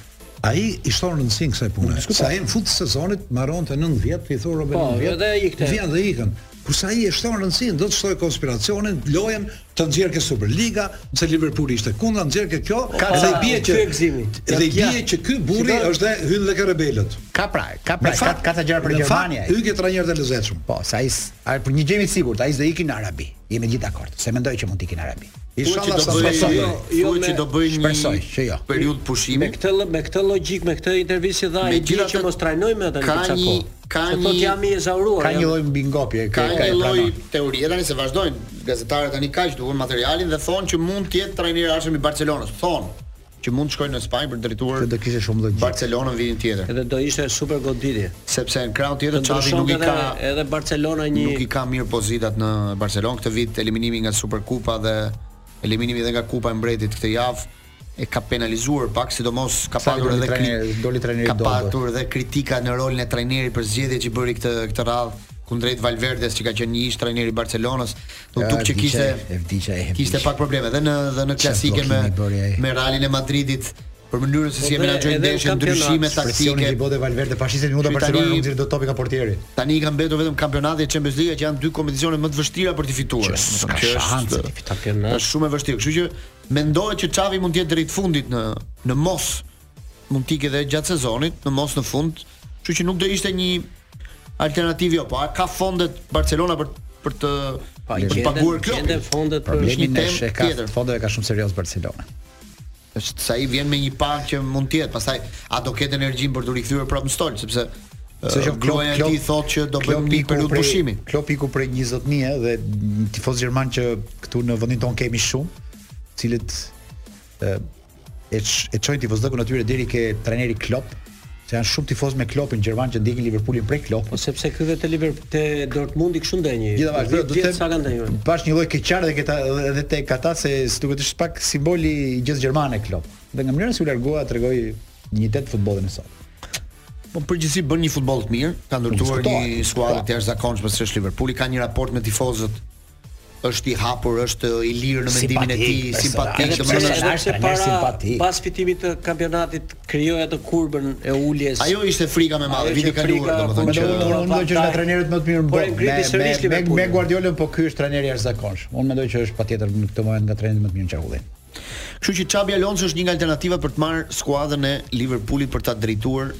ai i shton rëndësinë kësaj pune. Sa herë në fund të sezonit marron të 9 vjet, i thon Robert
Po,
9 vjet.
edhe ikte.
Vjen dhe ikën. Kurse ai e shton rëndësinë, do të shtoj konspiracionin, lojen të nxjerrë ke Superliga, se Liverpooli ishte kundra nxjerrë ke kjo,
Po, Ka
dhe i
ca-
bie që
ky e gëzimi.
Dhe i
Ja.
bie që ky burri
Shiko-
është dhe hyn dhe ke rebelët.
Ka pra, ka pra,
Në
ka
fakt-
ka ta gjëra për
në fakt,
Gjermanië.
Hyn ke trajner të lezetshëm.
Po, se ai s- ai për një gjemi të sigurt, ai s'do ikin në Arabi. Jemi gjithë dakord. Se mendoj që mund të ikin në Arabi.
Inshallah
do
sa
bëj-
besoj.
jo, jo, thuaj që do bëj një
Shpresoj që jo.
Periudhë pushimi.
Me këtë lë- me këtë logjik, me këtë intervistë që dha,
Me
i di
gjithatë-
që mos trajnoj me ata
ka
çka
një- ka
Se thot
një-
jam i ezauruar.
Ka
jam-
një lloj mbingopje,
Ka
ka
një
e
lloj
pranon.
teorie tani se vazhdojnë gazetarët tani kaq duan materialin dhe thonë që mund të jetë trajneri arshëm i Barcelonës. Thonë që mund të shkojnë në Spanjë për të drejtuar
do kishte shumë logjik.
Barcelonën vitin tjetër.
Edhe do ishte super goditje.
Sepse në krau tjetër Xavi nuk i ka
edhe, edhe Barcelona një
nuk i ka mirë pozitat në Barcelonë këtë vit eliminimi nga Superkupa dhe eliminimi edhe nga Kupa e Mbretit këtë javë e ka penalizuar pak, sidomos ka
Sa
patur
doli
edhe
trajneri-
kri-
doli trajneri
ka
Dodo.
patur edhe kritika në rolin e trajnerit për zgjedhjet që bëri këtë këtë radhë kundrejt Valverdes që ka qenë një ish trajneri i Barcelonës, do
Ja,
duk që
vdiqe,
kishte
e vdiqe, e vdiqe.
kishte pak probleme dhe në dhe në klasike me
blokimi bëri ai.
me Realin e Madridit për mënyrën se
Po
si e
dhe
menaxhoi
edhe në
ndeshjen,
kampionat,
ndryshime
presioni që
taktike.
i bote Valverde pa 60 minuta
Që
Barcelona
tani-
nuk nxjerr dot topi ka portieri.
Tani i ka mbetur vetëm kampionati e Champions League që janë dy kompeticione më të vështira për të fituar.
s'ka
Që është-
shanse ti fiton kampionat.
Është shumë e vështirë, kështu që mendohet që Xavi mund të jetë drejt fundit në në mos mund të ikë edhe gjatë sezonit, në mos në fund, kështu që nuk do ishte një alternativë jo, po a ka fondet Barcelona për për të për të paguar klubin.
problemi
Është një
është e
temë
ka
tjetër.
fondeve ka shumë serioz Barcelona.
është sa i vjen me një pak që mund të jetë, pastaj a do ketë energjinë për të rikthyer prapë në stol, sepse
Se që
ë, gruaja e tij thotë që do bëjmë një periudhë pushimi.
Klop iku prej 20 mijë dhe një tifoz gjerman që këtu në vendin ton kemi shumë, të cilët ë, e ç- e çojnë tifozllëkun atyre deri ke trajneri Klopp, se janë shumë tifoz me Kloppin gjerman që ndjekin Liverpoolin prej Klopp.
Po sepse ky vetë Liverpool te Dortmundi kështu ndenjë.
Gjithavash, do të
sa kanë ndenjë.
them bash një lloj keqar dhe këta edhe tek ata se si duket është pak simboli i gjithë gjermane Klopp. Dhe nga mënyra si u largua tregoi unitet futbollin e sot.
Po përgjithësi bën një futboll të mirë, ka ndërtuar
Diskutohet,
një skuadër
po.
të jashtëzakonshme se është Liverpooli, ka një raport me tifozët është i hapur, është i lirë në mendimin e tij, simpatik, domethënë
Edhe pse para pas fitimit të kampionatit krijoi atë kurbën e uljes. Po,
Ajo ishte frika më e madhe,
Ajo
viti
ishte
kaluar,
frika,
domethënë
po
kur
që-
ndodhi
Unë mendoj që është nga
avantaj.
trajnerët më të mirë në
Por e
botë.
ngriti sërish
me, me, me
Liverpoolin.
Guardiolën, po ky është trajneri i jashtëzakonshëm. Unë mendoj që është patjetër në këtë moment nga trajnerët më të mirë në çakullin.
Kështu që Xabi Alonso është një nga alternativat për të marrë skuadrën e Liverpoolit për ta drejtuar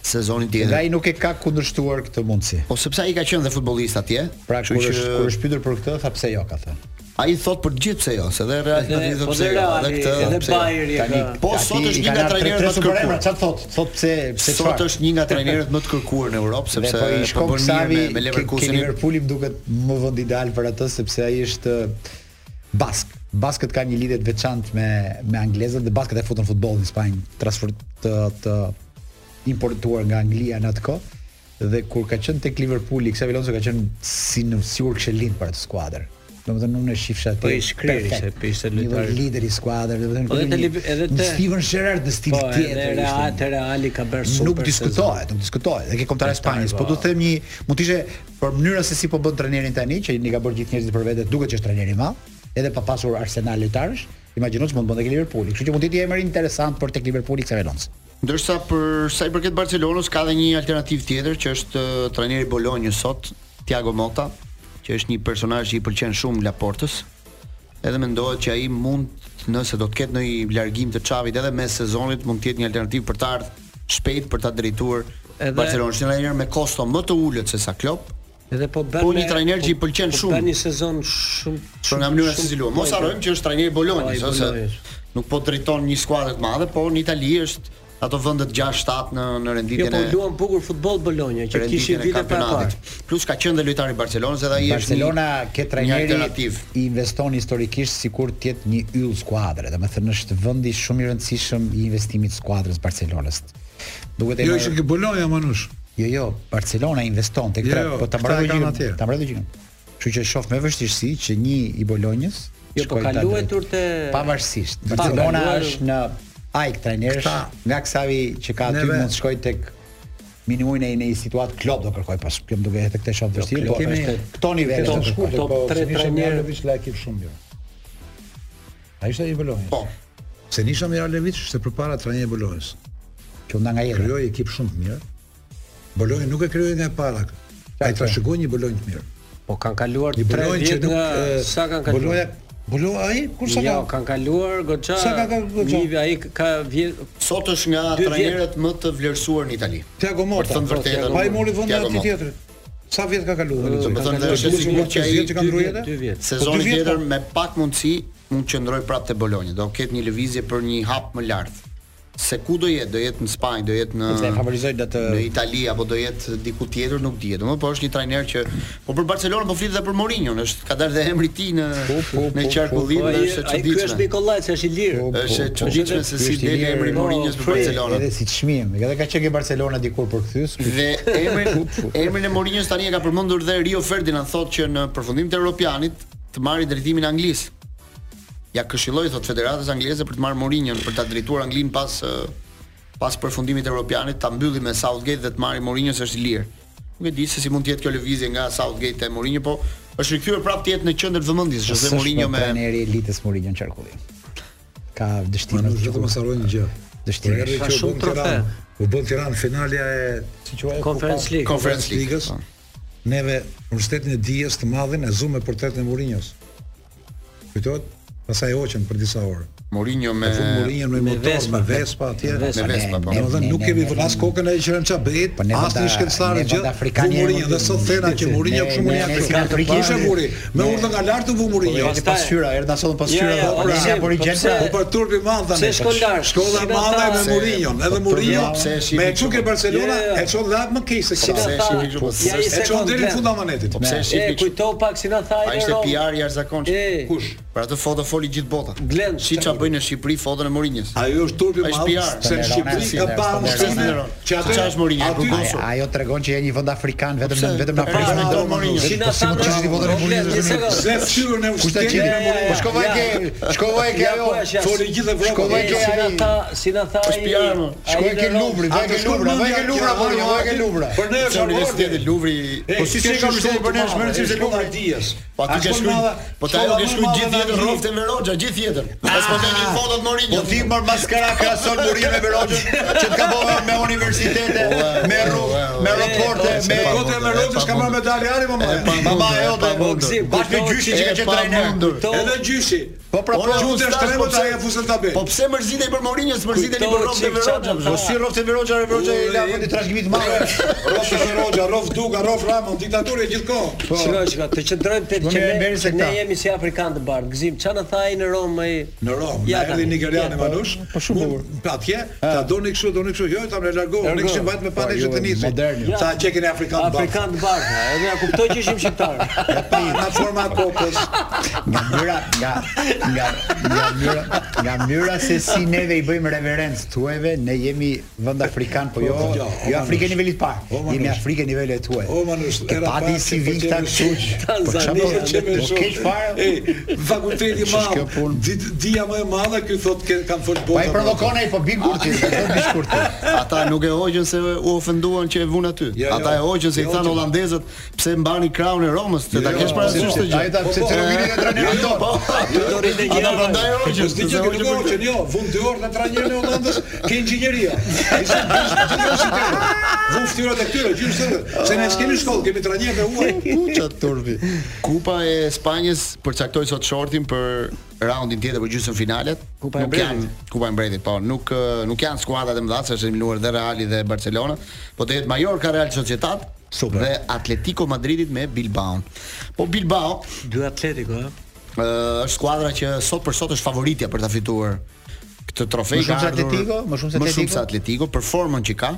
sezonin tjetër.
Nga ai nuk e ka kundërshtuar këtë mundësi.
Po sepse ai ka qenë dhe futbollist atje.
Pra
kështu
kur
që-
është kur është pyetur për këtë, tha pse jo ka thënë.
Ai thot për gjithë pse jo, se edhe Real
Edhe-
Madrid
po
pse
dhe
jo,
Reali, edhe
pse jo.
Bayern e ka-
Tani, po
Tani
sot është
i
një
kanë
nga
ardhur
trajnerët
tre
më të
superemra,
kërkuar.
çfarë thot? Thot pse pse
Sot
çfarë?
është një nga trajnerët më të kërkuar në Europë sepse
Dhe po i shkon
po bën mirë
Xavi
me, me
Ke
Leverkusenin.
Liverpooli më duket më vend ideal për atë sepse ai është uh, bask. Baskët kanë një lidhje të veçantë me me anglezët dhe baskët e futën futbollin në Spanjë, transfer të të importuar nga Anglia në atë kohë dhe kur ka qenë tek Liverpooli, Xavi Alonso ka qenë si në sigur kishë lind për atë skuadër. Domethënë unë e shifsha atë.
Po i shkriri se
perfekt.
ishte
Një lloj
lojtar.
lideri i skuadrës, domethënë.
Po edhe
një-
te Liv- edhe
një
te-
Steven Gerrard në stil
Po, edhe
tjetër. ishte
Real-
një-
te Reali ka bërë super
Nuk diskutohet, nuk diskutohet. Dhe ke kombëtare Spanjës, po do të them një mund të ishte për mënyrën se si po bën trajnerin tani, që i ka bërë gjithë njerëzit për vete, duket që është trajner i madh, edhe pa pasur arsenal lojtarësh, imagjino ç'mund të bënte ke Liverpooli. Kështu që mund të jetë një emër interesant për tek Liverpooli Xavi Alonso.
Ndërsa për sa i përket Barcelonës ka edhe një alternativë tjetër që është ë, trajneri i Bolonjës sot, Thiago Motta, që është një personazh që i pëlqen shumë Laportës. Edhe mendohet që ai mund nëse do të ketë ndonjë largim të Xavit edhe mes sezonit mund të jetë një alternativë për të ardhur shpejt për ta drejtuar
Edhe-
Barcelonës. Është një trajner me kosto më të ulët se sa Klopp.
Edhe po bën
Po një trajner që i pëlqen shumë.
Bën një sezon shumë
Për nga mënyra se si luan. Mos harrojmë që është trajneri i Bolonjës,
Po, i
ose
Bolonjës.
nuk po drejton një skuadër të madhe, por në Itali është ato vendet 6-7 në në
Jo,
renditjen
po
e
luan bukur futboll Bologna që
renditjen
kishin
e
vite pra para
kampionatit. Plus ka qenë dhe lojtari i Barcelonës edhe ai është
Barcelona
një-
ke
një
trajneri
alternativë.
i investon historikisht sikur të jetë një yll skuadre, domethënë është vendi shumë i rëndësishëm i investimit të skuadrës Barcelonës. Duket e
Jo
marrë-
ishte ke Bologna manush.
Jo, jo, Barcelona investon tek
Jo,
tra,
jo,
po ta
këta
mbaroj
e kanë
gjinën.
atje.
Ta mbaroj gjinën. Kështu që shoh me vështirësi që një i Bolonjës
Jo, po
shkoj
ka
ta drejt.
luetur te
Pavarësisht.
Pa,
Barcelona
ka luar-
është në ajk trajnerësh nga Xavi që ka aty
Neve-
mund të shkoj tek minimumin e një situatë Klopp do kërkoj pas kjo më duket edhe këtë
Jo,
shoh vështirë po
kemi
është këto nivele
top
të
shkurtë,
shkurtë
po,
po
tre trajnerë.
Mialovic la ekip shumë mirë
Ai ishte i Bolonjës.
Po.
Se Nisha Miralevic ishte përpara trajneri i Bolonjës.
që nda nga jeta
Krijoi ekip shumë të mirë. Bolonja nuk e krijoi nga e para. kë. Ai trashëgoi një Bolonjë të mirë.
Po kanë kaluar 3
Një Bolonjë që
vjet
nuk
nga
e,
sa kanë kaluar.
Bolonja Bolonja ai kur sa
Jo,
ka?
kanë kaluar goxha.
Sa ka kaluar goxha?
Një ai ka vjet
Sot është nga
Dy vjet.
trajnerët më të vlerësuar në Itali.
Thiago
Për të
Motta.
thënë vërtetën.
Pa i mori vendin
Thiago
aty
Motta.
tjetër. Sa vjet ka kaluar?
Do të thënë dhe është e
Duhet
sigurt që
të
ai
zgjedhë që kanë ndruar jetë?
Sezoni
Po, dy vjet,
tjetër
po.
me pak mundësi mund të qëndroj prapë te Bolonjë. Do ketë një lëvizje për një hap më lart. se ku do jetë, do jetë në Spanjë, do jetë në
Sepse e favorizoi do të-
në Itali apo do jetë diku tjetër, nuk dihet. Domethënë po është një trajner që po për Barcelonën po flitet edhe për Mourinho, është ka dalë dhe emri i tij në
Po,
në qarkullim dhe është e
Ai ky është Po,
çuditshme.
Nikolaj, se është i lirë.
Është e çuditshme se si del emri Mourinho's për Barcelonën.
Edhe si çmim, edhe ka qenë ke Barcelona dikur për kthyes.
Dhe emrin emrin e Mourinho's tani e ka përmendur dhe Rio Ferdinand thotë që në përfundim të Europianit të marrë drejtimin anglis. Ja këshilloi thotë Federatës Angleze për të marrë Mourinho për ta drejtuar Anglinë pas eh, pas përfundimit të Europianit ta mbylli me Southgate dhe të marrë Mourinho se është i lirë. Nuk e di se si mund të jetë kjo lëvizje nga Southgate te Mourinho, po është rikthyer prapë të jetë në qendër të vëmendjes Jose
S'është
Mourinho
po
me
trajneri i elitës Mourinho në qarkullim. Ka dështime.
Nuk vetëm mos harrojnë gjë.
Dështime.
Kur erdhi
Ka
që u
shumë
bën
trofe.
Tiranë, U bën Tiranë finalja e si quhet
Conference
Kupa-
League.
Conference
Conference League,
Ligës. Neve universitetin e dijes të madhin e zume portretin e Mourinho's. Kujtohet? Pastaj hoqën për disa orë.
Mourinho me
Me Mourinho me
me
motor,
Vespa.
me Vespa atje.
Me Vespa, Me Vespa, po.
Domethënë nuk kemi vënë as kokën ai që ç'a bëhet,
po, ne
as
vënda-
një shkencëtar
ne
gjë.
vënda
Ku
afrikanë
Mourinho
janë
dhe sot thena që
ne-
Mourinho
ne-
kështu
ne-
Mourinho
ne-
kështu.
ne- afrikanë-
Kush e muri? Me
ne-
urdhë nga lart u vë Mourinho.
Po, e ke pasqyra, erdha sot pasqyra,
Ja, ja,
po, pra,
pse-
apo rigjen,
pse-
pra.
Po për turp i madh tani.
Pse shkon lart?
Shkolla e
Si na
madhe
tha?
me
Se-
Mourinho, edhe
po,
Mourinho
po, pse e shihni
me
kështu?
çuke Barcelona
Ja, ja.
e çon lart më keq se
Si na tha? Ja, i
E çon
sekond,
deri në
Glenn.
fund amanetit.
Po pse e shihni
E
kështu?
kujto pak si na tha
Ai
ai
ishte
Rom.
PR jashtëzakonshëm. Kush? Për atë foto foli gjithë bota.
Glen,
si ç'a bëjnë në Shqipëri foton e Mourinho's.
Ai është turpi
Ai
i
është
madh,
PR.
se në Shqipëri ka
Standard,
parë
standard,
ushtime
standard.
që atë
Ç'a është Mourinho?
aty-
Ajo- Ajo tregon që je një vend afrikan, vetëm në vetëm në
Po,
Afrikë.
pra,
mendon
po,
Mourinho.
si na
Po, si
tha
mund të
Ram,
ishte i votën e
po,
Mourinho's?
një sekondë. Se fytyrën e
Kush ta
ushtetit
qeni
e Mourinho?
Po shkova e ke, shkova e ke ajo.
Foli gjithë Evropën.
Shkova e ke
Si na
ai.
tha, si na tha ai.
Shkoj ke Luvri, vaj ke Luvra, vaj ke Luvra, po vaj ke Luvra.
Për ne
Sa
është
Universiteti i Luvri, po si si ka universiteti për ne është mërë se Luvri. Po aty ke shkruaj, po ta ajo ke shkruaj gjithë jetën rrofte me Roxha, gjithë jetën. Pas po kemi fotot Mourinho.
Po ti mor maskara krahason Mourinho me Beroxhin, që të ka bërë me universitete, me rrugë, me aeroporte, me
Gotë e Merocës ka marrë medalje ari mama.
Mama e
pa
jote,
mundur.
bashkë me gjyshi që
E
ka qenë
pa
trajner.
mundur.
Edhe gjyshi.
Po pra po
Ora, gjyshi është trajner, po ai e fusën tabe.
Po pse mërzitej për Mourinho, mërzitej për rrofte me Roxha.
Po si rrofte me Roxha, Roxha i la vendi trashëgimit të madh.
Rof Roxha, Rof Duka, Rof Ramon, diktaturë gjithkohë.
Shiko, shiko, të qëndrojmë te
Më
që
mirë
ne-
mberi se
që ne
këta.
jemi si afrikanë të bardhë. Gzim, ç'a na tha ai në Rom ai?
Në Rom,
Ja,
ja, erdhi
tani.
nigerian
Ja,
e
po,
Manush. Po shumë bukur. Pa atje, ta doni kështu, doni kështu. Jo, ta më largo, ne
Largo.
kishim vajt me panë
Po,
që
ju
të nisë.
moderni. Ja.
Sa çekin e afrikan baf.
Afrikanë të bardhë. ha, Edhe ja kuptoj që ishim shqiptar.
Pa, na forma e kokës.
Nga mënyra, nga nga nga mënyra, nga mënyra se si neve i bëjmë reverencë tuajve, ne jemi vend afrikan, po jo,
Po, jo,
jo
o
Afrikë e nivelit par.
O, Manush.
Jemi Afrikë e nivelit tuaj.
O Manush,
Ke pati si vin këta kështu. Po çfarë
Tanzania
po-
që më
po
shumë.
keq fare.
Ej, fakulteti i
Ç'është kjo
madh.
punë?
di- Dia më e madhe ky thotë ke kanë fol bota.
Pa i provokon ai po bin kurti, po bin kurti.
Ata nuk e hoqën se u ofenduan që e vun aty.
jo.
Ata e hoqën se i
Jo,
than
jo.
holandezët pse mbani krahun e Romës, se ta kesh parasysh këtë gjë.
Ai ta pse Ceromini ka
[laughs]
trajnerin
Jo,
ton.
Po,
do rritë
Ata prandaj e
Po
hoqën.
s'di që nuk do që jo, vum dy orë në trajnerin e Hollandës ke inxhinieria. Ishte Vum fytyrat e këtyre, gjysh tërë. Se ne s'kemi shkollë, kemi trajner të huaj.
Kuça turpi. Kupa e Spanjës përcaktoi sot shortin për raundin tjetër për gjysmën finalet.
Kupa e
Nuk
Mbretit.
janë- Kupa e Mbretit, po, nuk ë, nuk janë skuadrat e mëdha, se është eliminuar dhe Reali dhe Barcelona, po do jetë Mallorca Real Sociedad Super. dhe Atletico Madridit me Bilbao. Po Bilbao
[laughs] Dy Atletico, ha.
Ë, është skuadra që sot për sot është favoritja për ta fituar këtë trofe.
Më shumë
Ka
se
ardhur-
Atletico? Më shumë se
Më shumë
Atletico?
se Atletico për formën që ka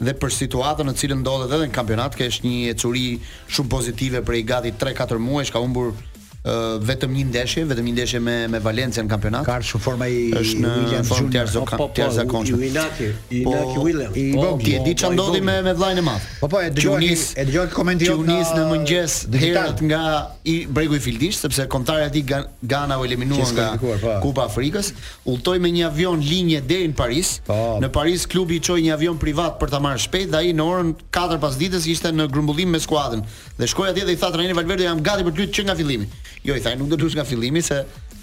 dhe për situatën në cilën ndodhet edhe në kampionat, ka është një ecuri shumë pozitive prej gati 3-4 muajsh, ka humbur ë, vetëm një ndeshje, vetëm një ndeshje me me Valencia në kampionat.
Ka ardhur shumë forma i
Është në
William
formë të
Junior.
jashtëzaka-
Po, po,
të jashtëzakonshme.
i- i Inaki- i
Po,
Inaki Williams.
i
Po,
Vogli. Ti e di
po,
ç'a
po, i
ndodhi
Vogli.
me me vllajën e madh.
Po po, e dëgjoj,
Gjunis-
e dëgjoj komentin
që u nis në mëngjes
digital.
herët nga i bregu i Fildisht sepse kombëtarja e tij Gan- Gana u eliminuan
Qenë
nga
skualifikuar, po.
Kupa e Afrikës, udhtoi me një avion linje deri në Paris.
Po.
Në Paris klubi i çoi një avion privat për ta marrë shpejt dhe ai në orën 4 pas ditës ishte në grumbullim me skuadrën. Dhe shkoi atje dhe i tha trajnerit Valverde jam gati për të luajtur që nga fillimi. Jo i tha nuk do të luash nga fillimi se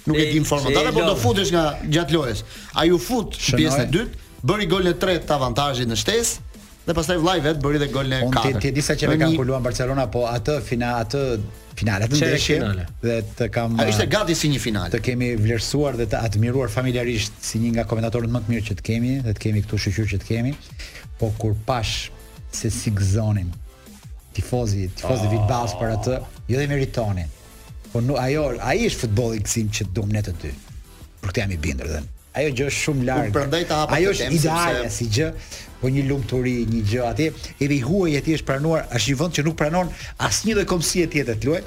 nuk e
Se-
di në formën
se
tënde,
e
po do
lodh.
futesh nga gjatë lojës. Ai u fut në
Shënoi.
pjesën e dytë, bëri golin e tretë të avantazhit në shtesë dhe pastaj vllai vet bëri dhe golin e
Unë ti
katërt.
ti e di sa që
Në
me kanë
një-
kuluan Barcelona, po atë fina atë finale të
Çeyrek
ndeshje
finale.
dhe të kam
Ai ishte gati si një final.
të kemi vlerësuar dhe të admiruar familjarisht si një nga komentatorët më të mirë që të kemi dhe të kemi këtu shoqëri që të kemi. Po kur pash se si gëzonin tifozi,
Ah.
tifozi Bilbaos për atë, jo dhe meritonin. Po nu, ajo, ai është futbolli kësim që duam ne të dy. Për këtë jam i bindur dhe
ajo gjë është shumë larg.
Unë prandaj ta hapa
Ajo
këtë
është
temë,
ideale
sepse-
si gjë, po një lumturi, një gjë atje, edhe i huaj atje është pranuar, është një vend që nuk pranon asnjë lloj komësie tjetër të luaj.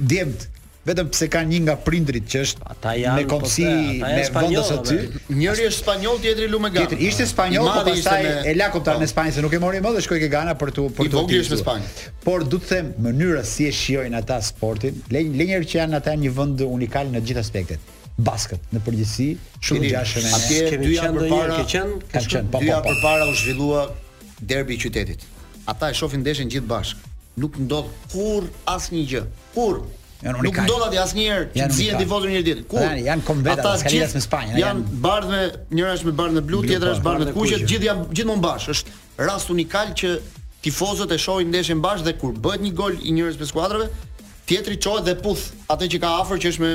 Djemt vetëm pse kanë një nga prindrit që është ata
janë,
me komsi
po, ata janë
me vendos
spanjollë,
aty.
Njëri është spanjoll, tjetri lumegana.
Tjetër ishte spanjoll,
I
po
madhi ishte
pastaj
me-
e la
Po.
kombëtarin në Spanjë se nuk e mori më dhe shkoi ke Gana për tu për
I
tu.
vogël
utilizuar.
është në Spanjë.
Por du të them mënyra si e shijojnë ata sportin, le le njëherë që janë ata një vend unikal në të gjithë aspektet. Basket në përgjithësi, shumë
Keni-
ngjashëm me
atje dy javë përpara
ka qenë, po
dy
po
javë
po.
përpara u zhvillua derbi i qytetit. Ata e shohin ndeshjen gjithë bashkë. Nuk ndodh kurr asnjë gjë. Kurr.
Janë
Nuk
unikal.
ndodh atje asnjëherë që
Janë
nxjihen
unikal.
tifozët njëri tjetrin. Kurr.
Janë- janë konveta,
Ata
s'ka lidhje
gjithë
me Spanjën,
Janë,
janë-
bardhë me njëra është me bardhë me blu,
Blu,
tjetra
po,
është bardhë me
bardhë me
kuqe,
kuqe.
gjithë janë gjithmonë bashkë. Është rast unikal që tifozët e shohin ndeshjen bashkë dhe kur bëhet një gol i njërës prej skuadrave, tjetri çohet dhe puth atë që ka afër që është me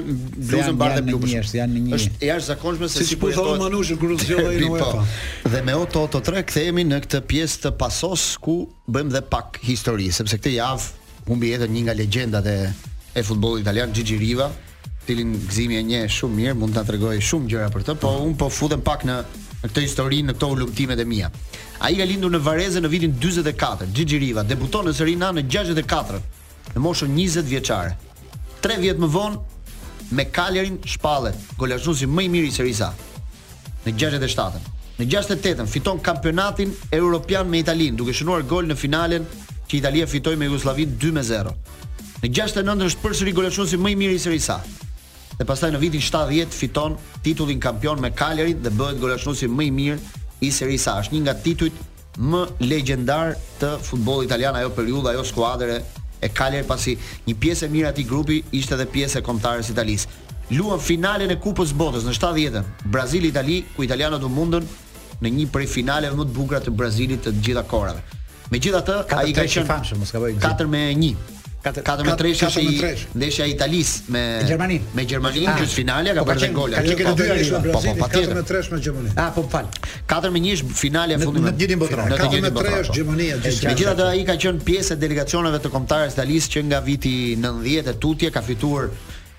bluzën
janë-
bardhë
janë
dhe
në
blu. për
një,
shemb.
janë në një.
Është e assim jashtëzakonshme se
Siç po thonë
projetohet-
Manushi, Gruziolla i
Bi, po.
UEFA.
Dhe me Oto Oto 3 kthehemi në këtë pjesë të pasos ku bëjmë dhe pak histori, sepse këtë javë humbi jetën një nga legjendat e e futbollit italian Gigi Riva, cilin gëzimi e një shumë mirë, mund ta tregoj shumë gjëra për të, po un po futem pak në në këtë histori, në këto ulumtimet e mia. Ai ka lindur në Varese në vitin 44. Gigi Riva debuton në Serie A në 64 në moshën 20 vjeçare. 3 vjet më vonë me Cagliarin shpallet, golazhuesi më i miri i Serie A në 67-ën. Në 68-ën fiton kampionatin evropian me Italinë, duke shënuar gol në finalen që Italia fitoi me Jugosllavin 2-0. Në 69-ën është përsëri goleshuesi më i miri i Serie A. Dhe pastaj në vitin 70 fiton titullin kampion me Cagliari dhe bëhet goleshuesi më i mirë i Serie A. Është një nga titujt më legjendar të futbollit italian ajo periudhë, ajo skuadre e Cagliari pasi një pjesë e mirë e atij grupi ishte edhe pjesë e kombëtarës italisë. Luan finalen e Kupës së Botës në 70-ën, Brazil-Itali, ku italianët u mundën në një prej finaleve më të bukura të Brazilit të gjitha kohërave. Megjithatë, ai ka
tresh i
qenë
famshëm, mos ka bëj gzim.
4 me 1. 4, 4 me 3
katër
është
me
i
tresh.
ndeshja e Italisë me
Me Gjermaninë.
Me Gjermaninë
Ah.
gjysmëfinalja ka
Po, ka
bërë dhe
qenë-
gola.
ka qenë këtë dy arriva.
Po, po, patjetër.
4 me 3 me Gjermaninë.
Ah, po fal.
4 me 1 është finalja e
Në-
fundit.
në të gjithin botëror.
Në të
Katër me
gjithin
tre
botëror,
është
po.
Gjermania, gjithçka.
Megjithatë ai ka qenë pjesë e delegacioneve të kombëtarës italisë që nga viti 90 e tutje ka fituar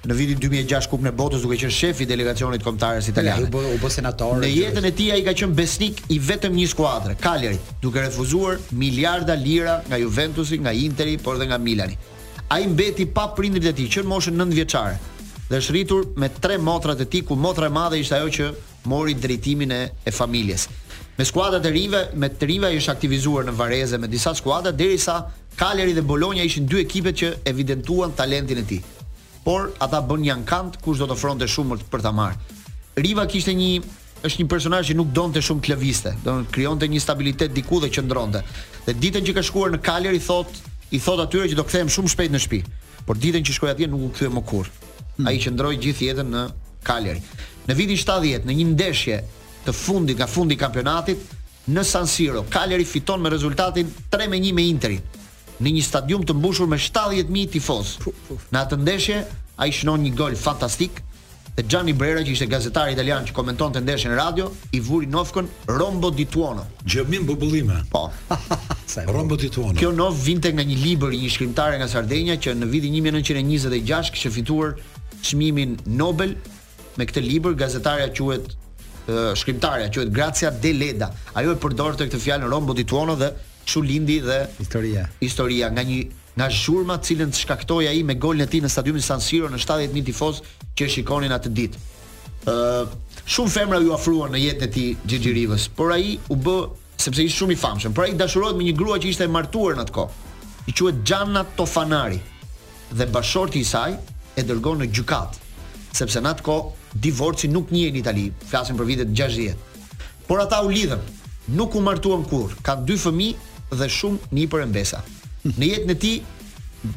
në vitin 2006 Kupën e Botës duke qenë shefi i delegacionit kombëtarës
Italian. U
italiane.
po-
bë u bë senator.
Në jetën e tij ai ka qenë besnik i vetëm një skuadre, Cagliarit, duke refuzuar miliarda lira nga Juventusi, nga Interi, por edhe nga Milani. Ai mbeti pa prindrit e tij që në moshën 9 vjeçare dhe është rritur me tre motrat e tij, ku motra e madhe ishte ajo që mori drejtimin e, e familjes. Me skuadrat e rive, me të riva i është aktivizuar në Vareze me disa skuadra derisa Cagliari dhe Bologna ishin dy ekipet që evidentuan talentin e tij por ata bën një ankant kush do të ofronte shumë për ta marrë. Riva kishte një është një personazh që nuk donte shumë të lëviste, do të krijonte një stabilitet diku dhe qëndronte. Dhe ditën që ka shkuar në Kaler i thot, i thot atyre që do kthehem shumë shpejt në shtëpi. Por ditën që shkoi atje nuk u kthye më kurrë. Ai qëndroi gjithë jetën në Kaler. Në vitin 70, në një ndeshje të fundit nga fundi i kampionatit në San Siro, Kaleri fiton me rezultatin 3-1 me Interin në një stadium të mbushur me 70000 tifoz. Në atë ndeshje ai shënon një gol fantastik dhe Gianni Brera që ishte gazetar italian që komentonte ndeshjen në radio, i vuri nofkën Rombo di Tuono.
Gjëmin bubullime.
Po.
Rombo Tituano.
Kjo nov vinte nga një libër i një shkrimtare nga Sardenja që në vitin 1926 kishte fituar çmimin Nobel me këtë libër gazetarja quhet ë, shkrimtarja quhet Grazia de Leda. Ajo e përdorte këtë fjalë Rombo di Tuono dhe kështu lindi dhe
historia.
Historia nga një nga zhurma të cilën shkaktoi ai me golin e tij në stadiumin San Siro në 70000 tifoz që e shikonin atë ditë. Ë shumë femra ju afruan në jetën e tij Gigi Rivës, por ai u bë sepse ishte shumë i famshëm. Por ai dashurohet me një grua që ishte e martuar në atë kohë. I quhet Gianna Tofanari dhe bashorti i saj e dërgon në gjykat, sepse në atë kohë divorci nuk njihej në Itali, flasim për vitet 60. Por ata u lidhën, nuk u martuan kurrë, kanë dy fëmijë dhe shumë nipër e mbesa. Në jetën e tij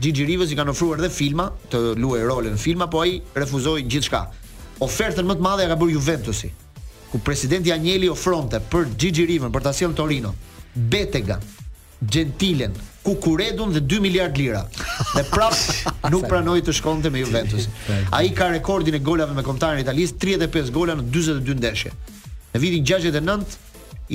Gigi Rivës i kanë ofruar dhe filma të luajë role në filma, po ai refuzoi gjithçka. Ofertën më të madhe ja ka bërë Juventusi, ku presidenti Anjeli ofronte për Gigi Rivën për ta sjellë në Torino, Betega, Gentilen, Kukuredun dhe 2 miliard lira. Dhe prap nuk pranoi të shkonte me Juventus. Ai ka rekordin e golave me kombëtarin italisë, 35 gola në 42 ndeshje. Në vitin 69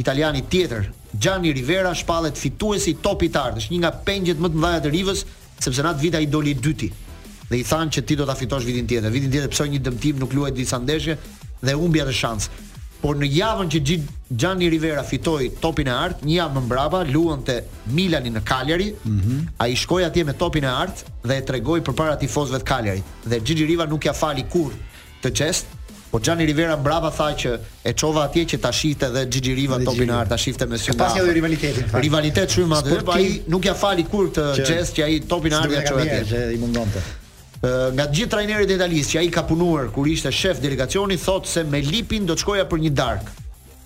italiani tjetër, Gianni Rivera shpallet fituesi i topit të ardhës, një nga pengjet më të mëdha të Rivës, sepse në atë vit ai doli i dyti. Dhe i thanë që ti do ta fitosh vitin tjetër. Vitin tjetër psoi një dëmtim, nuk luaj disa ndeshje dhe humbi atë shans. por në javën që Gi- Gianni Rivera fitoi topin e art, një javë më mbrapa luante Milani në Cagliari.
Mhm.
Ai shkoi atje me topin e art dhe e tregoi përpara tifozëve të Cagliarit. Dhe Gigi Riva nuk ja fali kurrë të çest, po Gianni Rivera mbrapa tha që e çova atje që ta shihte dhe Gigi Riva
Dhe
topin e
Gigi.
art ta shifte me sy.
Ka pas
nga
një lloj
afër.
rivaliteti, në fakt.
Rivalitet shumë atë, po ai
Sportiv.
nuk ja fali kurrë të
Që-
çest që ai topin e art
s'duhet
ja
ta
çoi
bjerë,
atje.
që i mundonte.
Ë, nga të gjithë trajnerët italisë që ai ka punuar kur ishte shef delegacioni thotë se me Lipin do të shkoja për një dark.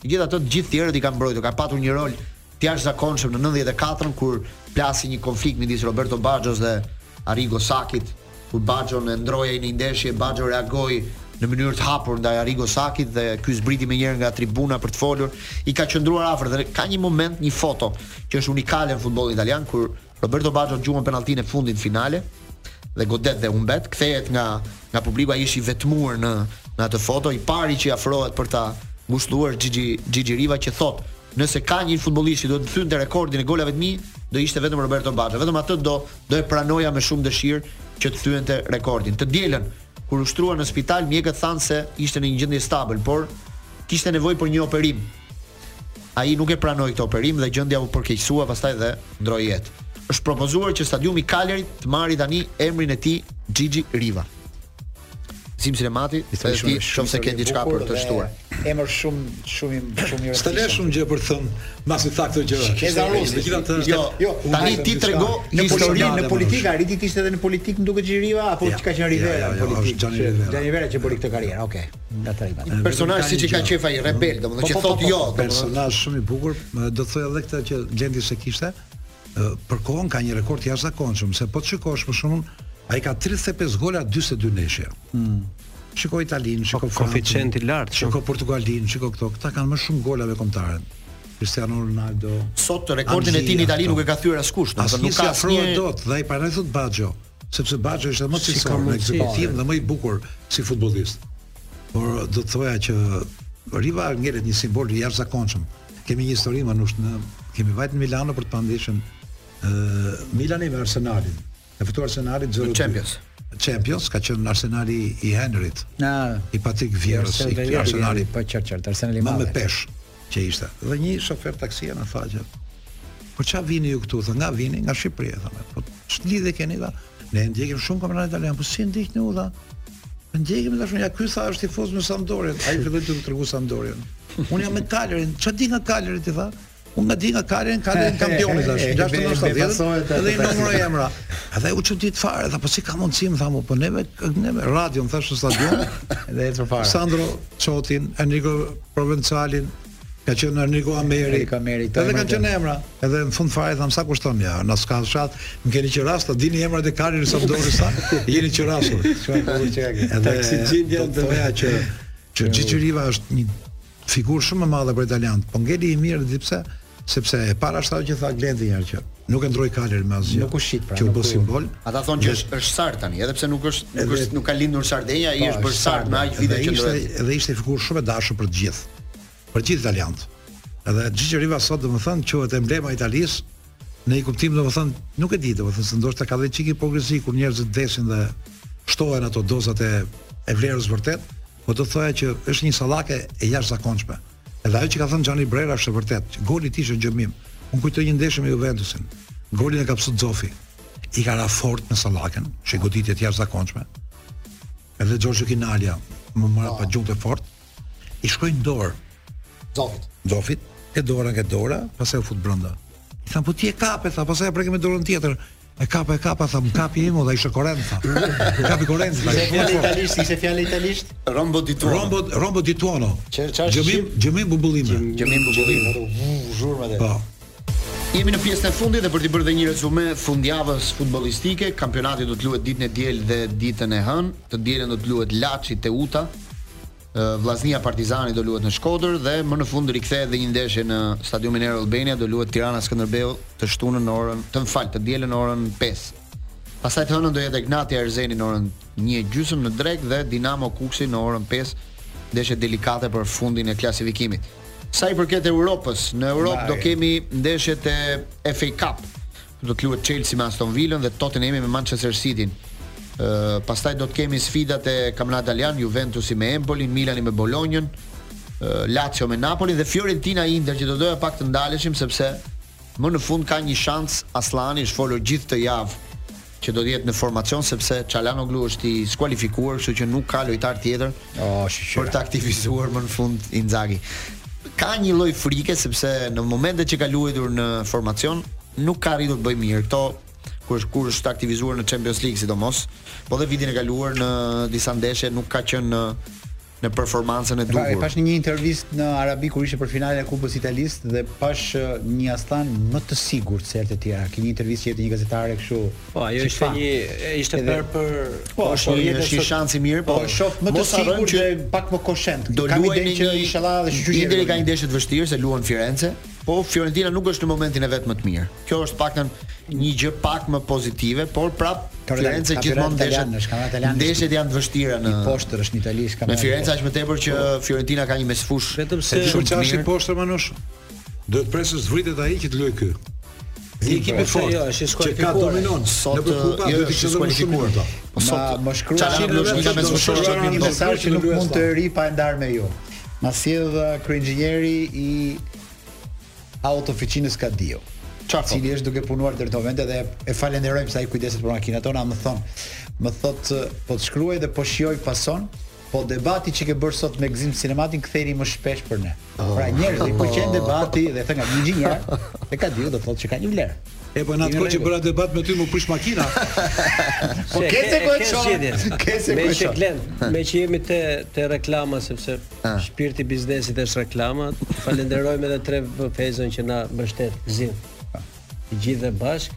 Gjithatë të gjithë tjerët i kanë mbrojtur, ka patur një rol të jashtëzakonshëm në 94-ën kur plasi një konflikt midis Roberto Baggio's dhe Arrigo Sakit, kur Baggio në ndrojej në një ndeshje, Baggio reagoi në mënyrë të hapur ndaj Arrigo Sakit dhe ky zbriti më njëherë nga tribuna për të folur, i ka qëndruar afër dhe ka një moment, një foto që është unikale në futbollin italian kur Roberto Baggio gjuan penalltinë e fundit finale, dhe godet dhe humbet, kthehet nga nga publiku ai ishi vetmuar në në atë foto, i pari që i afrohet për ta ngushëlluar Gigi Gigi Riva që thotë, nëse ka një futbollist që do të thynte rekordin e golave të mi, do ishte vetëm Roberto Baggio. Vetëm atë do do e pranoja me shumë dëshirë që të thyente rekordin. Të dielën kur u shtrua në spital, mjekët thanë se ishte në një gjendje stabil, por kishte nevojë për një operim ai nuk e pranoi këtë operim dhe gjendja u përkeqësua pastaj dhe ndroi jetë. Është propozuar që stadiumi i Cagliarit të marrë tani emrin e tij Gigi Riva. Sim Sinemati,
Histori
edhe ti
shumë- shumë
qofse ke
histori
diçka
bukur
për të
dhe
shtuar.
Emër shumë shumë i- shumë i
S'ta le
rëndësishëm.
shumë gjë për të thënë, mbasi tha këto gjëra.
Shkeza ruse.
Megjithatë,
Jo, jo,
tani ti trego
në politikë,
historinë
në politikë, a Riti ishte edhe në politikë më duket Xhiriva apo që ka qenë Rivera në politikë?
Gianni
Që-
Rivera.
Gianni Rivera që bëri këtë karrierë, okay. Na trajmë.
Një personazh siç i ka qef ai rebel,
Po,
domethënë
Po,
që thotë jo, domethënë
personazh shumë i bukur, më do të thoya edhe këtë që Glendi se kishte, ë, për kohën ka një rekord të jashtëzakonshëm, se po të shikosh për shkakun, ai ka 35 gola 42 ndeshje. Shiko Italinë, shiko Francën.
koeficient i lartë, shumë.
Shiko Portugalinë, shiko këto. Këta kanë më shumë gola me kombëtaren. Cristiano Ronaldo.
Sot rekordin e tij në
Angjia,
Itali
po.
këto.
nuk e ka thyer askush,
Asnjë
domethënë nuk
nuk
ka
afrohet
asnjë
dot, dhe ai paraj thot Baggio, sepse Baggio ishte më
Si ka
cilësor në
mundësi,
ekzekutiv
pare.
dhe më i bukur si futbollist. Por do të thoja që Riva ngelet një simbol i jashtëzakonshëm. Kemi një histori manush në kemi vajt në Milano për të pa ndeshën ë Milani me Arsenalin. Ka fituar Arsenali 0-2.
Në Champions.
Champions ka qenë Arsenali i Henryt.
Na,
I Patrick Vieras,
Arsenal
i
Wenger,
Arsenali
po qartë qartë, Arsenali i
Ma me
madh.
pesh që ishte. Dhe një shofer taksie na tha që Po ç'a vini ju këtu? Tha nga vini nga Shqipëria tha. Po ç'lidhe keni tha? Ne e ndjekim shumë kampionatin italian, po si e ndjekni u tha? Po ndjekim tash ja ky tha është tifoz me Sampdorin. Ai filloi të tregu Sampdorin. Unë jam me Kalerin. Ç'a di nga Kaleri ti tha? Unë nga di nga Kalerin, Kalerin kampioni tash.
E, e, e,
69-70
befasohet atë
dhe i
tash.
numëroi emra. Edhe u çudit fare, tha po si ka mundësi, më tha mu, po neve neve radio më thash në stadion.
Dhe ecën fare.
Sandro Çotin, Enrico Provencalin, ka qenë Enrico Ameri.
Enrico Ameri, këto
Edhe
emrat
kanë qenë
janë.
emra. Edhe në fund fare tham sa kushton ja, na s'ka shat, më keni që rast, ta dini emrat e Karin sa doni
[laughs]
sa, jeni që rastur.
Taksi gjendja
do të thoya që që Çiçiriva është një figurë shumë e madhe për italian, po ngeli i mirë di pse, sepse e para është ajo që tha Glendi një herë që nuk e ndroi Kaler me asgjë.
Nuk u shit, pra,
Që u
nuk
bë
u-
simbol.
Ata thonë që është është Sart tani, edhe pse nuk është nuk
Edhe-
është nuk ka lindur Sardenja, ai
Po,
është bërë Sart me aq vite
Edhe
që
ishte
ndrohet.
edhe ishte figurë shumë e dashur për të gjithë. Për të gjithë italianët. Edhe Gigi Riva sot domethënë quhet emblema e Italisë në një kuptim domethënë nuk e di domethënë se ndoshta ka dhe çik hipokrizi kur njerëzit vdesin dhe shtohen ato dozat e e vlerës vërtet, po do thoya që është një sallake e jashtëzakonshme. Edhe ajo që ka thënë Gianni Brera është e vërtet. që Goli i tij është gjëmim. Unë kujtoj një ndeshje me Juventusin. Golin e ka psu Zofi. I ka ra fort me sallaken, që goditje të jashtëzakonshme. Edhe Giorgio Kinalia më mora pa gjumë të fort. I shkojnë dorë
Zofit.
Zofit, e dora nga dora, pastaj u fut brenda. I thamë, po ti e kape, tha, pastaj e preke me dorën tjetër. E kapa, e kapa, tha, më kapi imu, tha, ishte korent, tha. Më kapi korent, tha, ishte
Fjala
fort, fort.
italisht, ishte fjalë italisht.
Rombo di Tuono.
Rombo, rombo di tuono.
Që- qa është
Gjëmim, gjëmim bubullime.
Gjemin Bubullin.
Zhurmë atë.
Po,
Jemi në pjesën e fundit dhe për t'i bërë dhe një rezume fundjavës futbollistike, kampionati do të luhet ditën e diel dhe ditën e hënë. Të dielën do të luhet Laçi Teuta, ë, Vllaznia Partizani do luhet në Shkodër dhe më në fund rikthehet dhe një ndeshje në Stadiumin Air Albania do luhet Tirana Skënderbeu të shtunën në orën, të më fal, të dielën në orën 5. Pastaj të hënën do jetë Gnati Erzeni në orën 1:30 në Drek dhe Dinamo Kuksi në orën 5, ndeshje delikate për fundin e klasifikimit. Sa i përket Europës, në Europë do kemi ndeshjet e FA Cup. Do të luhet Chelsea me Aston Villa dhe Tottenhami me Manchester City. Ë pastaj do të kemi sfidat e kampionatit italian, Juventusi me Empoli, Milani me Bolonjën, Lazio me Napoli dhe Fiorentina Inter që do doja pak të ndaleshim sepse më në fund ka një shans Aslani është folur gjithë të javë që do të jetë në formacion sepse Çalanoglu është i skualifikuar, kështu që nuk ka lojtar tjetër
oh, shqyra.
për të aktivizuar më në fund Inzaghi. Ka një lloj frike sepse në momentet që ka luajtur në formacion nuk ka arritur të bëjë mirë. Kto kur është kur është aktivizuar në Champions League sidomos, po dhe vitin e kaluar në disa ndeshje nuk ka qenë në në performancën e duhur.
Pa, Pra, pash një intervistë në Arabi kur ishte për finalen e Kupës Italisë dhe pash uh, një Aslan më të sigurt se herë të tjera. Ke një intervistë që jepte një gazetare kështu.
Po, ajo ishte fan. një ishte Edhe, për për
po, është një është një shans i mirë, po.
Po shoh më të sigurt që pak më koshent.
Do
Kam
luajnë
idenë që inshallah dhe
shqyrë. Interi ka një ndeshje të vështirë se luan Firenze, po Fiorentina nuk është në momentin e vet më të mirë. Kjo është paktën një gjë pak më pozitive, por prap Firenze gjithmonë ndeshet. Ndeshjet janë të vështira në
poshtër është në Itali,
ka. Me Firenze aq më tepër që Fiorentina ka një mesfush.
Vetëm se
shumë çashi poshtër manush. Do të presësh vritet ai që të luaj ky. Një ekip i fortë.
Jo, është
Që ka
skualifikuar.
dominon.
Po, Sot
Në përkupa do
jo, është
të ishte më shumë
skualifikuar.
mirë.
Po sot
më shkruan
Çalanoglu është një nga mesfushorët që
një
mirë.
mesazh që nuk
luaj
mund të ri pa e ndarë me ju. Ma sjell uh, kryeinxhinieri i auto oficinës Kadio.
po?
Çfarë cili është duke punuar deri në momente dhe e falenderojmë se ai kujdeset për makinat tona, më thon. Më thot uh, po të shkruaj dhe po shijoj pason, po debati që ke bërë sot me Gzim Sinematin ktheni më shpesh për ne.
Oh.
Pra njerëzit i pëlqen debati dhe thënë nga
[laughs]
një inxhinier, e Kadio do thotë që ka një vlerë.
E po në atë kohë që bëra debat me ty më prish makina.
Po ke se ku e çon. Ke se ku
Me
e
që
çon.
Glen, me që jemi te te reklama sepse shpirti i biznesit është reklama. Falenderojmë edhe Trev Fezën që na mbështet gzim. Të gjithë dhe bashk.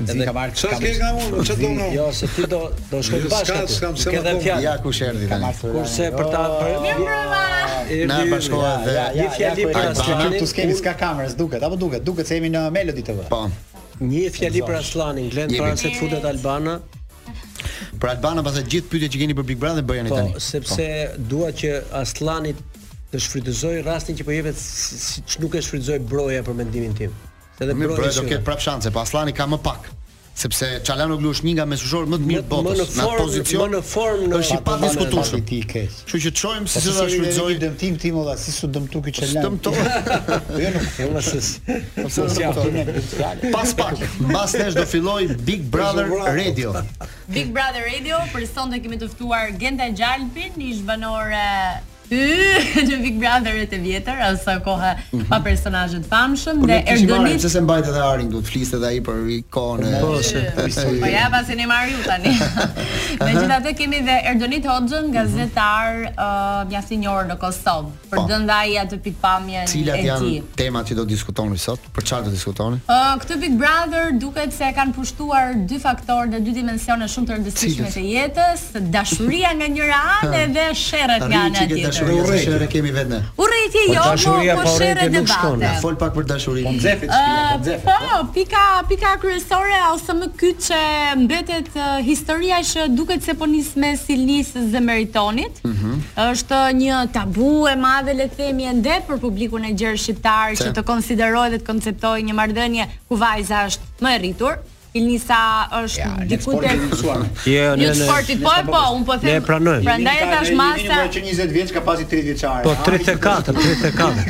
Zi ka marrë
Çfarë ke nga unë? Çfarë do unë?
Jo, se ti do do shkoj
Jo,
bashkë.
s'ka-
aty.
s'kam se
Ke
më
dhe
thonë.
fjalë.
Ja kush erdhi tani.
Kurse për ta për Erdhi
Na
Ylli.
bashkohet dhe-
Një fjali
po, pra,
për
Albani.
Aslanin.
Tu skemi s'ka kamerës, duket, apo duket, duket se jemi në Melody TV.
Po.
Një fjali për Aslanin, Glen
Jemi.
para se të futet Albana.
Për Albana pastaj gjithë pyetjet që keni për Big Brother bëjani
Po,
tani.
sepse dua që Aslanit të shfrytëzoj rastin që po jepet si siç nuk e shfrytëzoj broja për mendimin tim. Se edhe
Mirë,
broja
pra do
është
ketë prap shanse, po Aslani ka më pak. Sepse Çalanoglu është një nga mesushorët më të mirë të
Më- më në
botës në atë
formë-
pozicion.
më në formë në-
është i
Pa,
padiskutueshëm.
Ti keq.
Kështu që të shohim
Po
si
si
do ta shfrytëzoj.
shfrytëzoj dëmtim tim olla, si su dëmtu ky çelan.
Dëmto.
Jo nuk.
[laughs]
[laughs] E
Po,
mos Po, se- po,
Pse do Pas pak, mbas nesh do filloj Big Brother Radio.
Big Brother Radio, për sonte kemi të ftuar Genda Gjalpin, ish banore y- në Big Brother e të vjetër, ose koha pa personazhe të famshëm
Po
dhe
ne kishim marrë
Erdonit.
pse se mbajtë edhe Arin, duhet fliste edhe ai për ikone.
Po,
se- Po ja pasi ne marrë ju tani. Megjithatë kemi dhe Erdonit Hoxhën, gazetar uh, mjaft i njohur në Kosovë, për
Po.
dhënë dhe ai atë pikpamjen
Cilat
e
janë
tij.
temat që do diskutoni sot? Për çfarë do diskutoni?
Uh, këtë Big Brother duket se kanë pushtuar dy faktorë dhe dy dimensione shumë të rëndësishme
Cilët?
të jetës, dashuria nga njëra anë edhe sherrët nga ana
Rriqi që
tjetër.
dashuria se shere kemi vetë ne.
Urrëti jo, po
dashuria
po
pa urrëti
sherrë
nuk shkon,
debate.
Na fol pak për dashurinë.
Nxefit shpia,
Ë,
nxefit.
po, pika pika kryesore ose më kyç që mbetet ë, historia që duket se po nis me Silnisës dhe Meritonit. Është një tabu e madhe le të themi ende për publikun e gjerë shqiptar që
Se?
të konsiderojë dhe të konceptojë një marrëdhënie ku vajza është më e rritur. Ilnisa është diku te [laughs]
Jo,
Ju të sportit, po e po, unë po them.
Ne e pranojmë.
Prandaj e thash masa,
Një që 20 vjeç ka pasi 30 vjeçare.
Po 34,
[laughs]
34.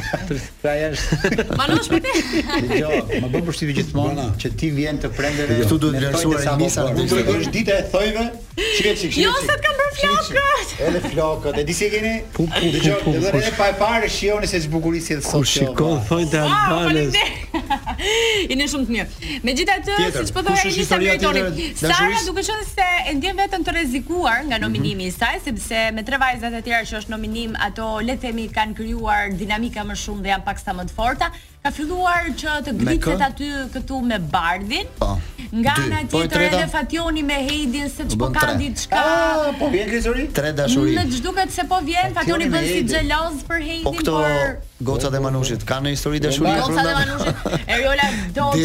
Pra janë.
manosh me te. [laughs]
Dgjoj, [laughs] më bën përshtypje gjithmonë që ti vjen të prendeve.
Këtu duhet vlerësuar Elisa,
Nuk
duhet
është dita e thojve. Shikoj, shikoj.
Jo, se të kam bërë flokët.
Edhe flokët. E di si e keni?
Pum, pum, pum,
Dgjoj,
pum,
edhe
kush-
edhe pa e parë shihoni se ç'bukurisë sjell sot.
Ku
kjo,
Po, shikon
valla.
thonjtë
Wow,
Albanës.
faleminderit. Jeni shumë të mirë. Megjithatë,
Tjetër,
siç po
kush
thoya
është
Elisa
historia
Meritoni,
tjetër e
Sara
dashurisë? Mhm.
duke qenë se e ndjen veten të rrezikuar nga nominimi i saj, sepse me tre vajzat e tjera që është nominim, ato le të themi kanë krijuar dinamika më shumë dhe janë paksa më të forta. Ka filluar që të
Me
gritet
kë?
aty këtu me Bardhin.
Po.
Nga
Dy.
ana
Po, e
tjetër
treta? Po
edhe Fationi me Heidin se ç'po
Bën
ka
tre.
diçka.
Ah, po vjen Grisori?
Tre dashuri.
Në ç'duket se po vjen, Fationi
me
bën si
Heidin.
xheloz për Heidin,
Po këto
por
Gocat e Manushit kanë një histori dashurie
Gocat e Manushit, Eriola Doçi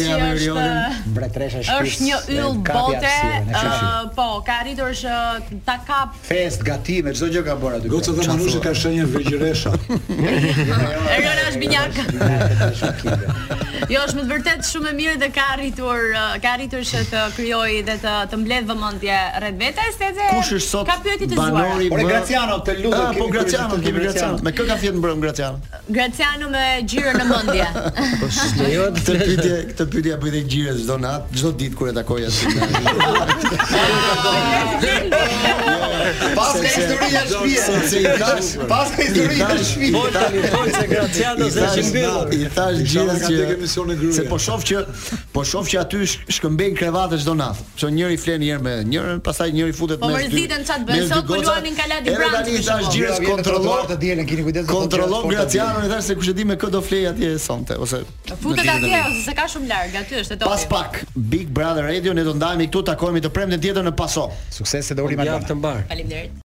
[laughs] Dea me
është
Eriolën,
mbretëresha e
Është
shtëpisë,
një yll
kapi
bote,
hapësirën, e kështu
ë,
uh,
po, ka arritur që ta kap
Fest, gatime, çdo gjë ka bërë aty.
Goca dhe Manushi ka shenjë vegjëresha.
Eriola është
[laughs]
binjak. Jo, është me të vërtet shumë e mirë dhe ka arritur ë, ka arritur që të krijojë dhe të të mbledh vëmendje rreth vetes edhe
Kush është sot
ka pyetje të
banori më-
zgjuara.
Ah,
kemi
po Graciano,
kuriozitet për
kemi Graciano.
Graciano.
Me kë ka fjetë mbrëm Graciano?
Graciano me gjirë në
[laughs]
mendje.
Po
s'lejohet.
Këtë pyetje, këtë pyetje apo dhe gjire çdo nat, çdo ditë kur e takoj atë.
[laughs] Pas ka
Sepse-
historia e
sepse i
[laughs]
thash,
shtëpia. Pas ka historia e shtëpia.
Fol [laughs] tani, fol se Graciano
I
s'e
thash-
shimbyllur.
I thash gjirës
ka tek emisioni
që
gruaja.
se po shoh që po shoh që aty sh- shkëmbejnë krevate çdo natë. Që njëri flen një herë me njërin, pastaj njëri futet
Po
mes dy-
mërziten çat bën
mes dy
sot po
goca.
luanin Kaladi
Edhe
Brand. po.
tani i thash gjirës
Vjen në
kontrollor
trotuar të dielën, keni kujdes.
kontrollon Graciano i thash se kush e di me kë do flej atje sonte ose
Futet
në ditën e
atje
ditë.
ose se ka shumë larg, aty është e topi.
Pas pak Big Brother Radio ne do ndajemi këtu takohemi të premten tjetër në Paso.
Suksese dhe urim
Javë të mbar.
Faleminderit.